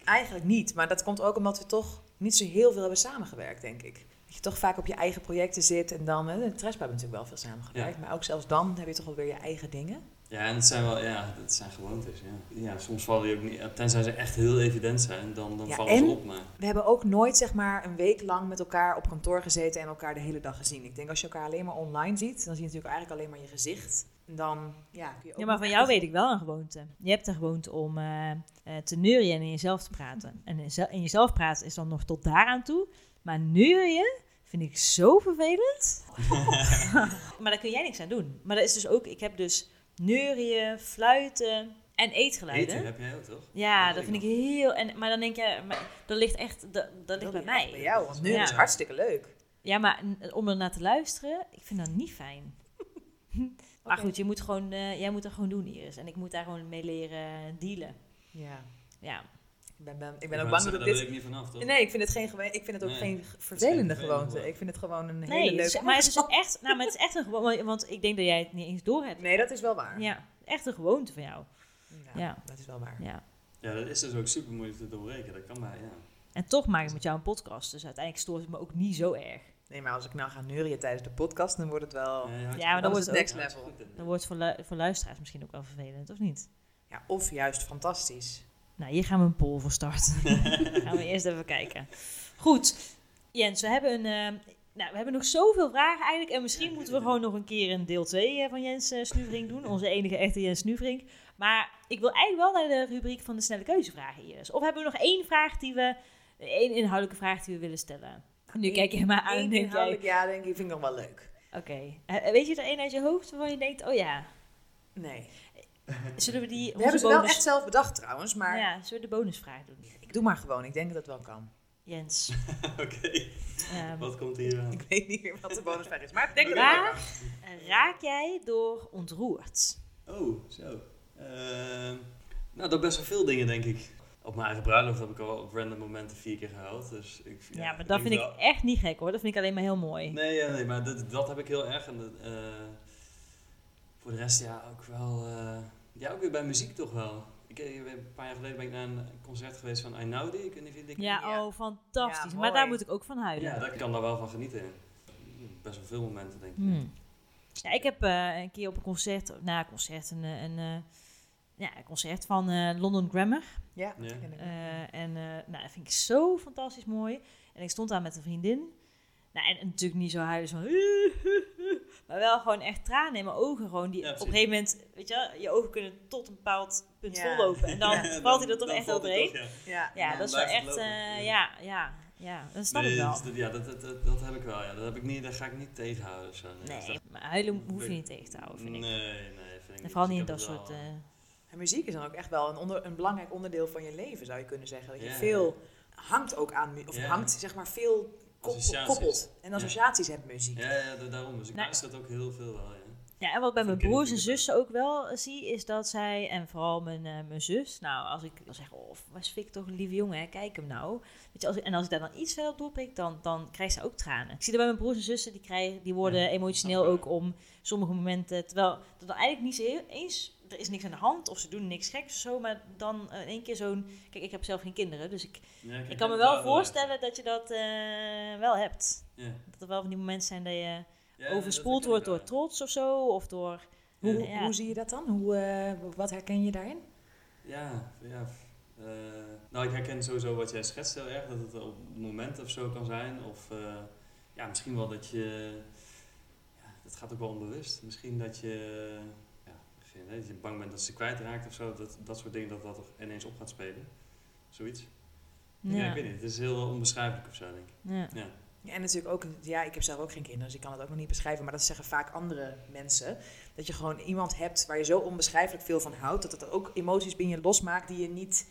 Speaker 1: Eigenlijk niet, maar dat komt ook omdat we toch niet zo heel veel hebben samengewerkt, denk ik. Dat je toch vaak op je eigen projecten zit en dan... eh, Trespa hebben natuurlijk wel veel samengewerkt, maar ook zelfs dan heb je toch wel weer je eigen dingen.
Speaker 4: Ja, en het zijn wel, ja, dat zijn gewoontes. Ja, ja soms vallen die ook niet. Tenzij ze echt heel evident zijn, dan, dan
Speaker 1: Ja,
Speaker 4: vallen ze
Speaker 1: en-
Speaker 4: op. Maar
Speaker 1: We hebben ook nooit zeg maar een week lang met elkaar op kantoor gezeten en elkaar de hele dag gezien. Ik denk als je elkaar alleen maar online ziet, dan zie je natuurlijk eigenlijk alleen maar je gezicht. En dan ja, kun je ook
Speaker 2: Ja, maar van jou weet ik wel een gewoonte. Je hebt een gewoonte om eh, eh, te neurien en in jezelf te praten. En in, zel- in jezelf praten is dan nog tot daaraan toe. Maar neurien vind ik zo vervelend. maar daar kun jij niks aan doen. Maar dat is dus ook, ik heb dus neurien, fluiten en eetgeluiden.
Speaker 4: eten heb jij ook toch?
Speaker 2: Ja,
Speaker 4: Dat
Speaker 2: dat
Speaker 4: weet
Speaker 2: vind ik heel... En, maar dan denk je, maar dat ligt echt dat, dat ligt bij mij.
Speaker 1: Bij jou, want nu
Speaker 2: Ja.
Speaker 1: is het hartstikke leuk.
Speaker 2: Ja, maar n- om er naar te luisteren, ik vind dat niet fijn. Maar
Speaker 1: Oké.
Speaker 2: goed, je moet gewoon, eh, jij moet dat gewoon doen, Iris. En ik moet daar gewoon mee leren dealen.
Speaker 1: Ja.
Speaker 2: Ja,
Speaker 1: Ik ben, ben- ik
Speaker 4: wou
Speaker 1: ben ook
Speaker 4: net
Speaker 1: bang dat ik
Speaker 4: zeggen, Daar
Speaker 1: dit...
Speaker 4: wil ik niet vanaf, toch?
Speaker 1: Nee, ik vind het, geen gewe- ik vind het ook
Speaker 4: Nee,
Speaker 1: geen
Speaker 4: geen
Speaker 1: vervelende
Speaker 4: vervelende
Speaker 1: gewoonte.
Speaker 4: gewoonte.
Speaker 1: Ik vind het gewoon een hele
Speaker 2: nee,
Speaker 1: leuke...
Speaker 2: het is- maar het
Speaker 1: [laughs]
Speaker 2: is echt, nou, maar het is echt een gewoonte, want ik denk dat jij het niet eens door hebt.
Speaker 1: Nee, dat is wel waar.
Speaker 2: Ja, echt een gewoonte van jou.
Speaker 1: Ja,
Speaker 2: Ja.
Speaker 1: dat is wel waar.
Speaker 2: Ja.
Speaker 4: Ja, dat is dus ook super moeilijk te doorbreken. Dat kan maar, ja.
Speaker 2: En toch maak ik met jou een podcast, dus uiteindelijk stoort het me ook niet zo erg.
Speaker 1: Nee, maar als ik nou ga neurien tijdens de podcast, dan wordt het wel...
Speaker 4: Ja, je had-
Speaker 2: Ja, maar dan
Speaker 1: wordt het
Speaker 4: ook-
Speaker 1: next
Speaker 4: ja, is
Speaker 1: level.
Speaker 4: goed, hè.
Speaker 2: Dan wordt het voor, lu- voor luisteraars misschien ook wel vervelend, of niet?
Speaker 1: Ja, of juist fantastisch.
Speaker 2: Nou, hier gaan we een poll voor starten. gaan we eerst even kijken. Goed, Jens, we hebben, een, eh, nou, we hebben nog zoveel vragen eigenlijk. En misschien
Speaker 4: Ja.
Speaker 2: moeten we gewoon nog een keer een deel 2 van Jens eh, Snuvrink doen. Onze enige echte Jens Snuvrink. Maar ik wil eigenlijk wel naar de rubriek van de snelle keuzevragen, Iris. Of hebben we nog één vraag die we, één inhoudelijke vraag die we willen stellen? Nu kijk je maar aan en
Speaker 1: Eén
Speaker 2: denk jij,
Speaker 1: inhoudelijk ja, denk ik, vind ik nog wel leuk.
Speaker 2: oké. Eh, Weet je er één uit je hoofd waarvan je denkt, oh ja,
Speaker 1: Nee.
Speaker 2: zullen we die,
Speaker 1: We hebben ze wel
Speaker 2: bonus,
Speaker 1: echt zelf bedacht trouwens, maar
Speaker 2: ja, zullen we de bonusvraag doen?
Speaker 1: ik doe maar gewoon. Ik denk dat het wel kan. [laughs]
Speaker 2: Jens,
Speaker 4: [laughs] Oké,
Speaker 2: ehm,
Speaker 4: wat komt hier aan?
Speaker 1: Ik weet niet meer wat de bonusvraag is, maar ik denk dat het wel kan.
Speaker 2: Waar raak jij door ontroerd?
Speaker 4: Oh, zo. Ehm, nou, dat best wel veel dingen, denk ik. Op mijn eigen bruiloft heb ik al op random momenten vier keer gehuild. Dus ik,
Speaker 2: Ja, maar dat vind ik
Speaker 4: wel-
Speaker 2: echt niet gek hoor. Dat vind ik alleen maar heel mooi.
Speaker 4: Nee, ja, nee, maar dat, dat heb ik heel erg. En dat, eh, voor de rest, ja, ook wel. eh, ja, ook weer bij muziek toch wel. Ik, eh, een paar jaar geleden ben ik naar een concert geweest van Einaudi. Ik weet niet of je die
Speaker 2: ja,
Speaker 1: Ja.
Speaker 2: oh, fantastisch.
Speaker 1: Ja,
Speaker 2: maar daar
Speaker 1: mooi.
Speaker 2: moet ik ook van huilen.
Speaker 4: Ja, dat kan daar wel van genieten. Best wel veel momenten, denk ik.
Speaker 2: Hmm. Ja, ik heb eh, een keer op een concert, na een concert, een, eh, een, eh, ja, een concert van eh, London Grammar.
Speaker 1: Ja.
Speaker 4: Ja.
Speaker 1: ken ik.
Speaker 2: Eh, en eh, nou, dat vind ik zo fantastisch mooi. En ik stond daar met een vriendin. Nou, en, en natuurlijk niet zo huilen van... [laughs] Maar wel gewoon echt tranen in mijn ogen. Gewoon die
Speaker 4: Ja,
Speaker 2: op een
Speaker 4: precies.
Speaker 2: gegeven moment, weet je, wel, je ogen kunnen tot een bepaald punt
Speaker 1: Ja.
Speaker 2: vollopen. En dan
Speaker 4: [laughs] Ja,
Speaker 2: valt hij er toch
Speaker 4: dan
Speaker 2: echt
Speaker 4: valt hij
Speaker 2: overheen.
Speaker 4: toch, ja.
Speaker 1: Ja.
Speaker 2: Ja,
Speaker 4: Dan
Speaker 2: dat is wel
Speaker 4: blijft het
Speaker 2: echt,
Speaker 4: lopen.
Speaker 2: eh,
Speaker 4: Ja.
Speaker 2: ja, ja, ja, dat snap ik
Speaker 4: Nee, dus
Speaker 2: wel.
Speaker 4: dat, is- ja, dat, dat, dat, dat heb ik wel. Ja. Dat, heb ik niet, dat ga ik niet tegenhouden. of Zo. dus
Speaker 2: Nee,
Speaker 4: dat-
Speaker 2: maar huilen hoef je niet tegen te houden, vind ik.
Speaker 4: Nee, nee, vind ik
Speaker 2: En vooral
Speaker 4: Dus
Speaker 2: niet in
Speaker 4: ik
Speaker 2: dat
Speaker 4: heb het
Speaker 2: soort...
Speaker 4: wel-
Speaker 2: eh,
Speaker 1: En muziek is dan ook echt wel een, onder, een belangrijk onderdeel van je leven, zou je kunnen zeggen. Dat je
Speaker 4: Ja.
Speaker 1: veel hangt ook aan, mu- of
Speaker 4: Ja.
Speaker 1: hangt zeg maar veel koppel,
Speaker 4: Associaties.
Speaker 1: koppelt en associaties hebt met muziek.
Speaker 4: Ja, ja, da- daarom. Dus ik
Speaker 2: Nou.
Speaker 4: luister het ook heel veel wel, ja.
Speaker 2: Ja, en wat bij
Speaker 4: Van
Speaker 2: mijn broers en
Speaker 4: kinderen.
Speaker 2: zussen ook wel eh, zie, is dat zij, en vooral mijn, eh, mijn zus, nou, als ik dan zeg, oh, was Fik toch een lieve jongen, hè? kijk hem nou. Weet je, als, ik- en als ik daar dan iets verder op doorprik, dan, dan krijgt ze ook tranen. Ik zie dat bij mijn broers en zussen, die, krijgen, die worden
Speaker 4: Ja,
Speaker 2: emotioneel
Speaker 4: snap ik.
Speaker 2: ook om sommige momenten, terwijl dat dan eigenlijk niet zo heel eens, er is niks aan de hand, of ze doen niks geks of zo, maar dan eh, in één keer zo'n, kijk, ik heb zelf geen kinderen, dus ik,
Speaker 4: Ja, kijk,
Speaker 2: ik kan me
Speaker 4: ja,
Speaker 2: wel
Speaker 4: ja,
Speaker 2: voorstellen dat je dat eh, wel hebt.
Speaker 4: ja. Ja.
Speaker 2: Dat er wel van die momenten zijn dat je
Speaker 4: Ja,
Speaker 2: overspoeld
Speaker 4: dat
Speaker 2: wordt
Speaker 4: herken
Speaker 2: door
Speaker 4: ik wel,
Speaker 2: trots of zo, of door...
Speaker 1: Hoe,
Speaker 2: Ja.
Speaker 1: hoe zie je dat dan? Hoe, eh, wat herken je daarin?
Speaker 4: Ja, ja. ja. Eh, nou, ik herken sowieso wat jij schetst heel erg. Dat het op momenten of zo kan zijn. Of eh, ja, misschien wel dat je... Ja, dat gaat ook wel onbewust. Misschien dat je... Ja, geen idee, dat je bang bent dat ze kwijtraakt of zo. Dat, dat soort dingen, dat dat er ineens op gaat spelen. Zoiets. Ja. ik weet niet. Het is heel onbeschrijfelijk of zo, denk ik.
Speaker 2: Ja.
Speaker 4: Ja.
Speaker 1: Ja, en natuurlijk ook, ja, ik heb zelf ook geen kinderen, dus ik kan het ook nog niet beschrijven. Maar dat zeggen vaak andere mensen. Dat je gewoon iemand hebt waar je zo onbeschrijfelijk veel van houdt. Dat het ook emoties binnen je losmaakt die je niet,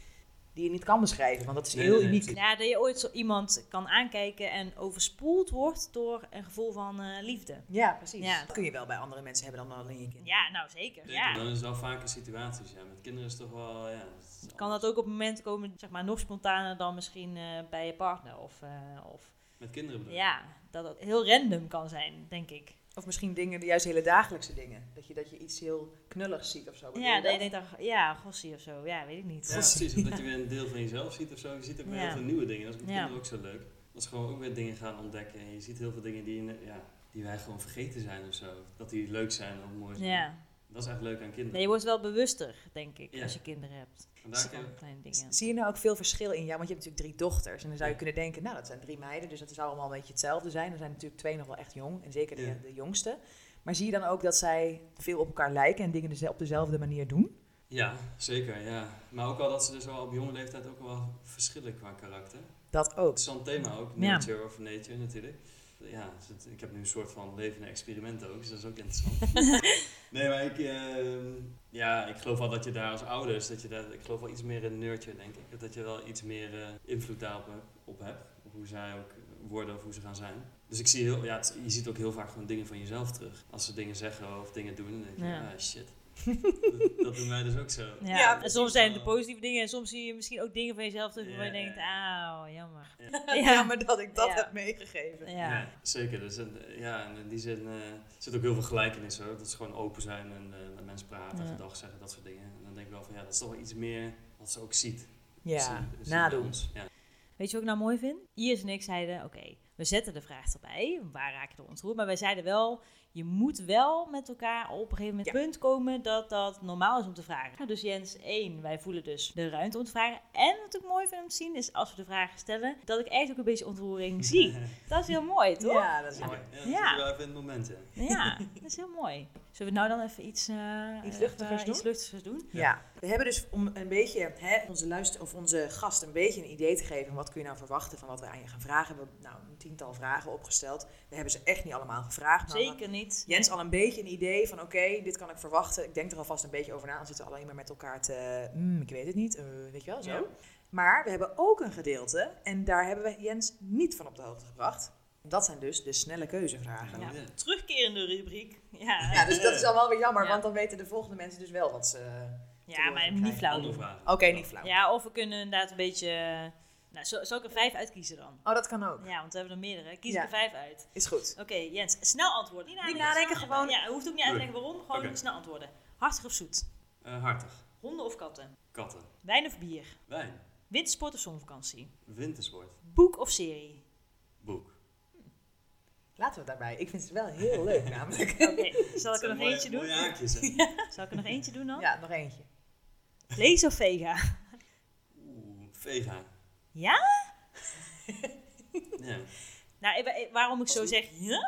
Speaker 1: die je niet kan beschrijven. Want dat is
Speaker 4: Nee,
Speaker 1: heel
Speaker 4: nee, nee,
Speaker 1: uniek.
Speaker 4: precies.
Speaker 2: Ja, dat je ooit zo iemand kan aankijken en overspoeld wordt door een gevoel van eh, liefde.
Speaker 1: Ja, precies.
Speaker 2: Ja.
Speaker 1: Dat kun je wel bij andere mensen hebben dan alleen je kinderen.
Speaker 2: Ja, nou zeker.
Speaker 4: Zeker,
Speaker 2: Ja.
Speaker 4: Dan is het wel vaker situaties. Ja. Met kinderen is het toch wel... Ja, het is
Speaker 2: Kan dat ook op momenten komen, zeg maar, nog spontaner dan misschien eh, bij je partner? Of, eh, of
Speaker 4: Met kinderen bedoel je?
Speaker 2: ja, dat het heel random kan zijn, denk ik.
Speaker 1: Of misschien dingen, juist hele dagelijkse dingen. Dat je, dat je iets heel knulligs ziet of zo. Bedoel
Speaker 2: Ja,
Speaker 1: je
Speaker 2: dat je denkt, ach, ja, gossie of zo. Ja, weet ik niet.
Speaker 4: Ja, precies. Omdat je weer een deel van jezelf ziet of zo. Je ziet ook weer
Speaker 2: Ja.
Speaker 4: heel veel nieuwe dingen. Dat is met
Speaker 2: Ja.
Speaker 4: kinderen ook zo leuk. Dat ze gewoon ook weer dingen gaan ontdekken. En je ziet heel veel dingen die, je- ja, die wij gewoon vergeten zijn of zo. Dat die leuk zijn of mooi zijn.
Speaker 2: Ja.
Speaker 4: Dat is echt leuk aan kinderen.
Speaker 2: Nee, je wordt wel bewuster, denk ik,
Speaker 4: Ja.
Speaker 2: als je kinderen hebt.
Speaker 4: Want daar
Speaker 2: Van
Speaker 4: kun-
Speaker 2: kleine dingen.
Speaker 1: S- Zie je nou ook veel verschil in jou? Want je hebt natuurlijk drie dochters. En dan zou je
Speaker 4: Ja.
Speaker 1: kunnen denken, nou dat zijn drie meiden. Dus dat zou allemaal een beetje hetzelfde zijn. Er zijn natuurlijk twee nog wel echt jong. En zeker de,
Speaker 4: Ja.
Speaker 1: de jongste. Maar zie je dan ook dat zij veel op elkaar lijken en dingen deze- op dezelfde manier doen?
Speaker 4: ja, zeker. Ja. Maar ook al dat ze dus al op jonge leeftijd ook al wel verschillen qua karakter.
Speaker 1: Dat
Speaker 4: [laughs]
Speaker 1: ook.
Speaker 4: Interessant thema ook.
Speaker 2: Oh. Ja.
Speaker 4: Nature of nature natuurlijk. Ja, dus het- ik heb nu een soort van levende experimenten ook, dus dat is ook interessant.
Speaker 2: [laughs]
Speaker 4: nee, maar ik, ehm, ja, ik geloof wel dat je daar als ouders, dat je daar, ik geloof wel iets meer in nurture, denk ik. Dat je wel iets meer eh, invloed daarop eh, op hebt. Op hoe zij ook worden of hoe ze gaan zijn. Dus ik zie heel, ja, het- je ziet ook heel vaak gewoon dingen van jezelf terug. Als ze dingen zeggen of dingen doen, dan denk je,
Speaker 2: Ja.
Speaker 4: ah shit.
Speaker 2: [laughs]
Speaker 4: dat, dat doen wij dus ook zo.
Speaker 2: Ja.
Speaker 1: Ja,
Speaker 2: en
Speaker 1: precies.
Speaker 2: soms zijn het de positieve dingen en soms zie je misschien ook dingen van jezelf terug waarvan je
Speaker 4: Ja, ja,
Speaker 2: denkt,
Speaker 4: ja.
Speaker 2: auw, jammer. [laughs]
Speaker 1: Ja, maar dat ik dat
Speaker 2: Ja.
Speaker 1: heb meegegeven.
Speaker 2: Ja.
Speaker 4: Ja, zeker. Dus, en, eh, ja, en in die zin eh, zit ook heel veel gelijkenis hoor. Dat ze gewoon open zijn en eh, met mensen praten,
Speaker 2: Ja.
Speaker 4: gedag zeggen, dat soort dingen. En dan denk ik wel van ja, dat is toch wel iets meer wat ze ook ziet.
Speaker 1: Ja,
Speaker 4: Zien- zien bij
Speaker 1: nadoen.
Speaker 4: ons. Ja.
Speaker 2: Weet je wat ik nou mooi vind? Iris en ik zeiden, oké, we zetten de vraag erbij. Waar raak je door ontroerd? Maar wij zeiden wel, je moet wel met elkaar op een gegeven moment
Speaker 1: Ja.
Speaker 2: punt komen dat dat normaal is om te vragen. Nou, Dus Jens, één, wij voelen dus de ruimte om te vragen. En wat ik mooi vind om te zien is, als we de vragen stellen, dat ik echt ook een beetje
Speaker 1: [laughs]
Speaker 2: ontroering
Speaker 4: [laughs]
Speaker 2: zie. Dat is heel mooi, toch? Ja.
Speaker 1: Ja, dat is
Speaker 4: Mooi.
Speaker 1: mooi.
Speaker 4: Ja, dat
Speaker 2: Ja.
Speaker 4: zit wel even in het moment in.
Speaker 2: dat is heel mooi. Zullen we nou dan even iets, eh,
Speaker 1: Iets luchtigers
Speaker 2: even iets
Speaker 1: doen?
Speaker 2: luchtigers doen?
Speaker 1: Ja, we hebben dus om een beetje hè, onze, luister, of onze gast een beetje een idee te geven. van Wat kun je nou verwachten van wat we aan je gaan vragen? We hebben nou, een tiental vragen opgesteld. We hebben ze echt niet allemaal gevraagd. Maar
Speaker 2: Zeker niet.
Speaker 1: Jens al een beetje een idee van oké, dit kan ik verwachten. Ik denk er alvast een beetje over na. Dan zitten we alleen maar met elkaar te, "Hmm, ik weet het niet, eh, weet je wel, zo.
Speaker 2: Ja.
Speaker 1: Maar we hebben ook een gedeelte en daar hebben we Jens niet van op de hoogte gebracht. Dat zijn dus de snelle keuzevragen. Ja,
Speaker 2: Ja. Terugkerende rubriek. Ja,
Speaker 1: dus dat is dan wel weer jammer,
Speaker 2: Ja.
Speaker 1: want dan weten de volgende mensen dus wel wat ze... Oké,
Speaker 2: ja maar niet flauw
Speaker 4: Andere
Speaker 2: doen.
Speaker 4: vragen.
Speaker 1: niet flauw.
Speaker 2: Ja, of we kunnen inderdaad een beetje... eh, Nou, zo- zal ik er vijf uitkiezen dan?
Speaker 1: Oh, dat kan ook.
Speaker 2: Ja, want we hebben er meerdere. Kies
Speaker 1: Ja.
Speaker 2: er vijf uit.
Speaker 1: Is goed.
Speaker 2: Oké, Jens, snel antwoorden. Niet
Speaker 1: nadenken,
Speaker 2: snel
Speaker 1: gewoon-
Speaker 2: Ja, hoeft ook niet uit te leggen
Speaker 4: Doei.
Speaker 2: waarom. Gewoon
Speaker 4: Oké.
Speaker 2: snel antwoorden. Hartig of zoet?
Speaker 4: Eh, hartig.
Speaker 2: Honden of katten?
Speaker 4: Katten.
Speaker 2: Wijn of bier?
Speaker 4: Wijn.
Speaker 2: Wintersport of zonvakantie?
Speaker 4: Wintersport.
Speaker 2: Boek of serie?
Speaker 4: Boek.
Speaker 1: Laten we het daarbij. Ik vind het wel
Speaker 2: [laughs]
Speaker 1: heel leuk namelijk. [laughs]
Speaker 2: Oké, zal ik er nog eentje doen?
Speaker 4: Mooie
Speaker 2: [laughs]
Speaker 4: haakjes hè.
Speaker 2: Zal ik er nog eentje doen dan?
Speaker 1: Ja, nog eentje.
Speaker 2: Vlees of vega?
Speaker 4: Oeh, vega.
Speaker 2: Ja?
Speaker 4: [laughs] Ja.
Speaker 2: Nou, ik- waarom ik zo
Speaker 4: Als-
Speaker 2: zeg ja,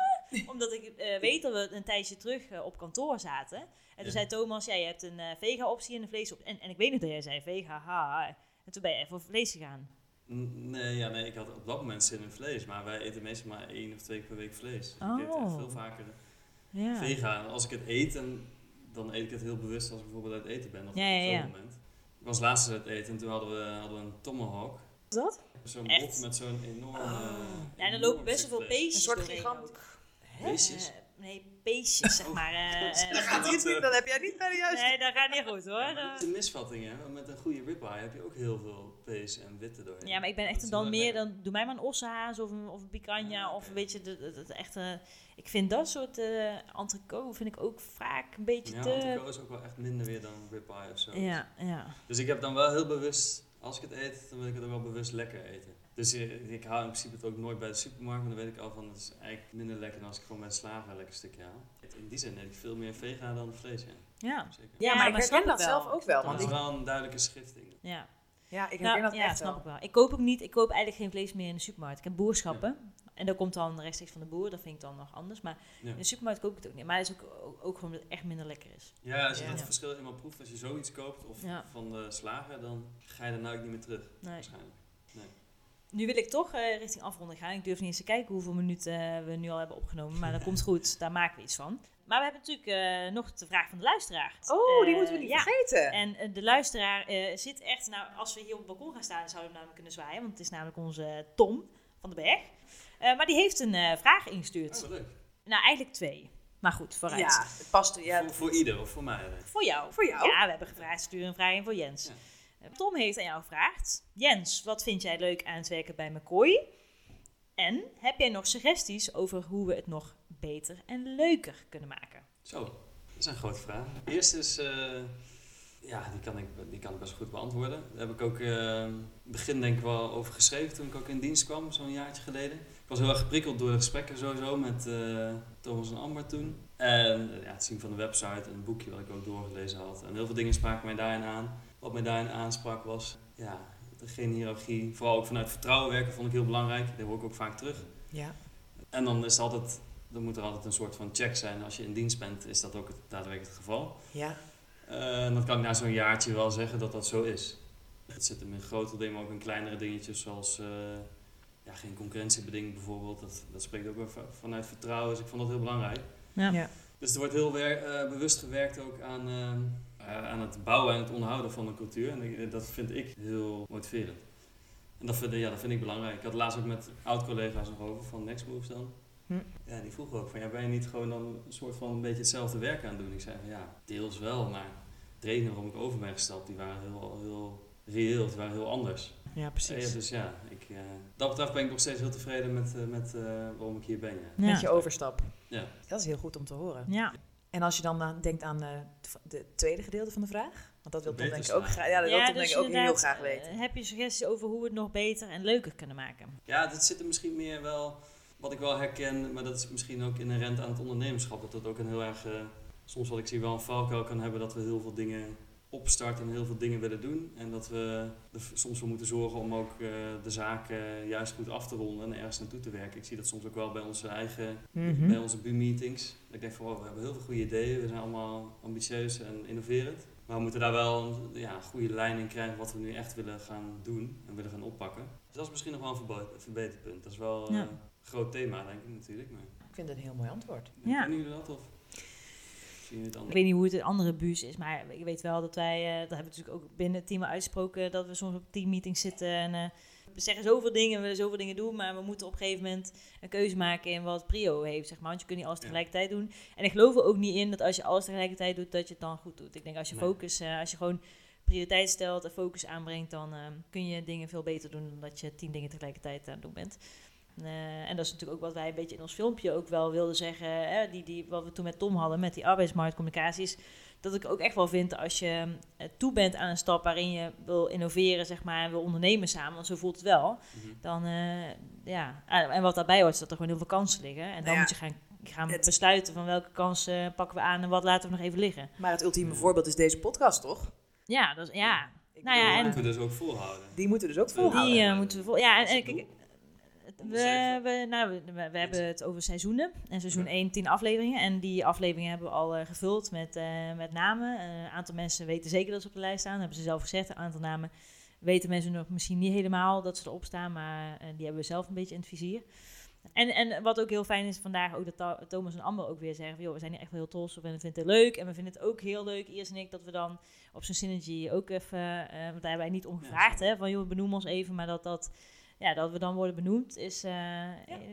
Speaker 2: Omdat ik eh, weet dat we een tijdje terug eh, op kantoor zaten. En toen
Speaker 4: Ja.
Speaker 2: zei Thomas, jij hebt een eh, vega-optie en een vleesoptie. En, en ik weet nog dat jij zei vega, ha. En toen ben je even voor vlees gegaan.
Speaker 4: N- Nee, ja, nee, ik had op dat moment zin in vlees. Maar wij eten meestal maar één of twee keer per week vlees. Dus Ik eet echt
Speaker 2: Oh.
Speaker 4: veel vaker
Speaker 2: Ja.
Speaker 4: vega. En als ik het eet, en, dan eet ik het heel bewust als ik bijvoorbeeld uit eten ben. Of
Speaker 2: Ja, ja,
Speaker 4: op zo'n
Speaker 2: ja.
Speaker 4: moment. Ik was laatst uit eten en toen hadden we, hadden we een tomahawk.
Speaker 2: dat?
Speaker 4: Zo'n
Speaker 2: Echt? Ah.
Speaker 4: bot met zo'n enorme...
Speaker 2: Ja, en er
Speaker 4: enorm
Speaker 2: lopen best
Speaker 4: stuk
Speaker 2: wel veel
Speaker 4: vlees.
Speaker 2: beestjes
Speaker 1: Een soort
Speaker 2: doorheen
Speaker 1: gigant.
Speaker 2: ook.
Speaker 4: Beestjes?
Speaker 2: Eh, nee, beestjes, zeg maar.
Speaker 4: [laughs]
Speaker 2: eh, eh,
Speaker 1: Dan, gaat niet goed, dan heb jij niet naar de juiste.
Speaker 2: nee, dat gaat niet goed hoor.
Speaker 4: Ja, maar dat is
Speaker 2: Eh,
Speaker 4: een misvatting, hè? Want met een goede ribeye heb je ook heel veel pees en witte doorheen.
Speaker 2: Ja, maar ik ben
Speaker 4: Dat
Speaker 2: echt
Speaker 4: is
Speaker 2: dan
Speaker 4: wel
Speaker 2: meer,
Speaker 4: lekker.
Speaker 2: dan doe mij maar een ossenhaas of een, of een picanha
Speaker 4: Ah, oké.
Speaker 2: of weet je, dat, dat, dat echte, ik vind dat soort eh entrecote vind ik ook vaak een beetje
Speaker 4: Ja,
Speaker 2: te...
Speaker 4: antico is ook wel echt minder weer dan ribeye of zo.
Speaker 2: Ja, ja.
Speaker 4: Dus ik heb dan wel heel bewust, als ik het eet, dan wil ik het ook wel bewust lekker eten. Dus eh, ik haal in principe het ook nooit bij de supermarkt, maar dan weet ik al van, het is eigenlijk minder lekker dan als ik gewoon bij de slager een lekker stukje haal. In die zin eet ik veel meer vega dan vlees, ja.
Speaker 2: Ja,
Speaker 4: Zeker.
Speaker 2: Ja, maar ik snap
Speaker 1: herken dat
Speaker 2: het wel.
Speaker 1: zelf ook wel.
Speaker 4: Dat
Speaker 1: Want
Speaker 4: is
Speaker 1: ik,
Speaker 4: wel een duidelijke schifting.
Speaker 2: ja.
Speaker 1: ja, ik herken
Speaker 2: Nou,
Speaker 1: dat
Speaker 2: ja,
Speaker 1: echt
Speaker 2: snap
Speaker 1: wel.
Speaker 2: ik wel. Ik koop ook niet, ik koop eigenlijk geen vlees meer in de supermarkt. Ik heb boerschappen. En dat komt dan rechtstreeks van de boer, dat vind ik dan nog anders. Maar
Speaker 4: Ja.
Speaker 2: in de supermarkt koop ik het ook niet. Maar het is ook, ook, ook gewoon dat het echt minder lekker is.
Speaker 4: Ja, als je
Speaker 1: Ja.
Speaker 4: dat
Speaker 2: Ja.
Speaker 4: verschil eenmaal proeft, als je zoiets koopt of
Speaker 2: Ja.
Speaker 4: van de slager, dan ga je daarna ook niet meer terug,
Speaker 2: Nee.
Speaker 4: waarschijnlijk.
Speaker 2: Nu wil ik toch eh, richting afronden gaan. Ik durf niet eens te kijken hoeveel minuten eh, we nu al hebben opgenomen. Maar dat komt goed, daar maken we iets van. Maar we hebben natuurlijk eh, nog de vraag van de luisteraar.
Speaker 1: Oh, die
Speaker 2: Eh,
Speaker 1: moeten we niet
Speaker 2: ja.
Speaker 1: vergeten.
Speaker 2: En eh, de luisteraar eh, zit echt, nou, als we hier op het balkon gaan staan, zouden we hem namelijk kunnen zwaaien. Want het is namelijk onze Tom van de Berg. Eh, maar die heeft een eh, vraag ingestuurd.
Speaker 4: Oh, wat leuk.
Speaker 2: Nou, eigenlijk twee. Maar goed, vooruit.
Speaker 1: ja, het past. Ja,
Speaker 4: Voor, voor ieder of voor mij. hè?
Speaker 2: Voor jou.
Speaker 1: Voor jou.
Speaker 2: Ja, we hebben gevraagd, stuur een vraag in voor Jens.
Speaker 4: Ja.
Speaker 2: Eh, Tom heeft aan jou gevraagd. Jens, wat vind jij leuk aan het werken bij McCoy? En heb jij nog suggesties over hoe we het nog beter en leuker kunnen maken?
Speaker 4: Zo, dat zijn grote vragen. Eerst is, eh, ja, die kan, ik, die kan ik best goed beantwoorden. Daar heb ik ook eh, in het begin denk ik wel over geschreven toen ik ook in dienst kwam, zo'n jaartje geleden. Ik was heel erg geprikkeld door de gesprekken sowieso met eh, Thomas en Amber toen. En eh, ja, het zien van de website en het boekje wat ik ook doorgelezen had. En heel veel dingen spraken mij daarin aan. Wat mij daarin aansprak was, ja, geen hiërarchie. Vooral ook vanuit vertrouwen werken vond ik heel belangrijk. Dat hoor ik ook vaak terug.
Speaker 1: ja.
Speaker 4: En dan is het altijd, dan moet er altijd een soort van check zijn. Als je in dienst bent, is dat ook het, daadwerkelijk het geval.
Speaker 1: ja.
Speaker 4: Eh, en dat kan ik na zo'n jaartje wel zeggen dat dat zo is. Het zit hem in grotere dingen, maar ook in kleinere dingetjes zoals eh, ja, geen concurrentiebeding bijvoorbeeld. Dat, dat spreekt ook wel va- vanuit vertrouwen, dus ik vond dat heel belangrijk.
Speaker 2: Ja.
Speaker 1: Ja.
Speaker 4: Dus er wordt heel wer- eh, bewust gewerkt ook aan, eh, eh, aan het bouwen en het onderhouden van een cultuur. En ik- eh, dat vind ik heel motiverend. En dat vind, ja, dat vind ik belangrijk. Ik had laatst ook met oud-collega's nog over van Next Moves dan.
Speaker 1: Hm.
Speaker 4: Ja, die vroegen ook van, ja, ben je niet gewoon dan een soort van een beetje hetzelfde werk aan het doen? Ik zei van, ja, deels wel, maar de redenen waarom ik over ben gestapt, die waren heel, heel reëel, die waren heel anders.
Speaker 1: Ja, precies.
Speaker 4: Eh, dus ja, ik, eh, dat betreft ben ik nog steeds heel tevreden met, eh, met eh, waarom ik hier ben. Ja.
Speaker 1: Met je overstap.
Speaker 4: Ja.
Speaker 1: Dat is heel goed om te horen.
Speaker 2: Ja.
Speaker 1: En als je dan aan- denkt aan het tweede gedeelte van de vraag, want dat wil Tom denk ik ook
Speaker 4: Beterspraak.
Speaker 1: graag. Ja, dat wil
Speaker 2: Ja,
Speaker 1: Tom
Speaker 2: dus
Speaker 1: denk ik ook heel
Speaker 2: inderdaad,
Speaker 1: graag weten.
Speaker 2: eh, Heb je suggesties over hoe we het nog beter en leuker kunnen maken?
Speaker 4: Ja, dat zit er misschien meer wel, wat ik wel herken, maar dat is misschien ook inherent aan het ondernemerschap. Dat dat ook een heel erg, eh, soms wat ik zie wel een valkuil kan hebben, dat we heel veel dingen opstarten en heel veel dingen willen doen. En dat we er v- soms voor moeten zorgen om ook eh, de zaak eh, juist goed af te ronden en ergens naartoe te werken. Ik zie dat soms ook wel bij onze eigen,
Speaker 1: Mhm.
Speaker 4: bij onze BU-meetings. Ik denk van, wow, we hebben heel veel goede ideeën, we zijn allemaal ambitieus en innoverend. Maar we moeten daar wel ja, een goede lijn in krijgen wat we nu echt willen gaan doen en willen gaan oppakken. Dus dat is misschien nog wel een verbo- een verbeterpunt. Dat is wel eh,
Speaker 2: Ja.
Speaker 4: een groot thema, denk ik natuurlijk. Maar
Speaker 1: Ik vind het een heel mooi antwoord.
Speaker 2: Ja.
Speaker 4: kennen jullie dat of zien jullie het
Speaker 2: Ik
Speaker 4: anders?
Speaker 2: weet niet hoe het in andere buurs is, maar ik weet wel dat wij, eh, dat hebben we natuurlijk ook binnen het team al uitgesproken, dat we soms op teammeetings zitten en eh, we zeggen zoveel dingen, we willen zoveel dingen doen, maar we moeten op een gegeven moment een keuze maken in wat prio heeft, zeg maar, want je kunt niet alles
Speaker 4: Ja.
Speaker 2: tegelijkertijd doen. En ik geloof er ook niet in dat als je alles tegelijkertijd doet, dat je het dan goed doet. Ik denk als je
Speaker 4: Nee.
Speaker 2: focus, eh, als je gewoon prioriteit stelt en focus aanbrengt, dan eh, kun je dingen veel beter doen dan dat je tien dingen tegelijkertijd aan het doen bent. Eh, en dat is natuurlijk ook wat wij een beetje in ons filmpje ook wel wilden zeggen. Hè, die, die, wat we toen met Tom hadden, met die arbeidsmarktcommunicaties. Dat ik ook echt wel vind als je eh, toe bent aan een stap waarin je wil innoveren, zeg maar, en wil ondernemen samen, want zo voelt het wel.
Speaker 4: Mhm.
Speaker 2: Dan, eh, ja. Ah, En wat daarbij hoort, is dat er gewoon heel veel kansen liggen. En dan
Speaker 1: Nou ja,
Speaker 2: moet je gaan, gaan
Speaker 1: het-
Speaker 2: besluiten van welke kansen pakken we aan en wat laten we nog even liggen.
Speaker 1: Maar het ultieme voorbeeld is deze podcast, toch?
Speaker 2: Ja, dat is, ja.
Speaker 1: Ik
Speaker 2: Nou ja,
Speaker 4: Die
Speaker 1: bedoel, eh,
Speaker 2: en-
Speaker 4: moeten we dus ook volhouden.
Speaker 1: Die moeten we dus ook
Speaker 4: Die,
Speaker 1: volhouden.
Speaker 2: Die eh, moeten we vol. Ja, en,
Speaker 4: Dat is
Speaker 2: en
Speaker 4: het
Speaker 2: kijk, We, we, nou, we, we- we hebben het over seizoenen. En seizoen 1, 10 afleveringen. En die afleveringen hebben we al eh, gevuld met, eh, met namen. Eh, Een aantal mensen weten zeker dat ze op de lijst staan. Dat hebben ze zelf gezegd. Een aantal namen weten mensen nog misschien niet helemaal dat ze erop staan. Maar eh, die hebben we zelf een beetje in het vizier. En, en wat ook heel fijn is vandaag, ook dat Tha- Thomas en Amber ook weer zeggen: van, joh, we zijn hier echt wel heel trots op en we vinden het leuk. En we vinden het ook heel leuk, Iris en ik, dat we dan op zo'n Synergy ook even, eh, want daar hebben wij niet om gevraagd, hè, van joh, benoem ons even, maar dat dat. Ja, dat we dan worden benoemd is. eh,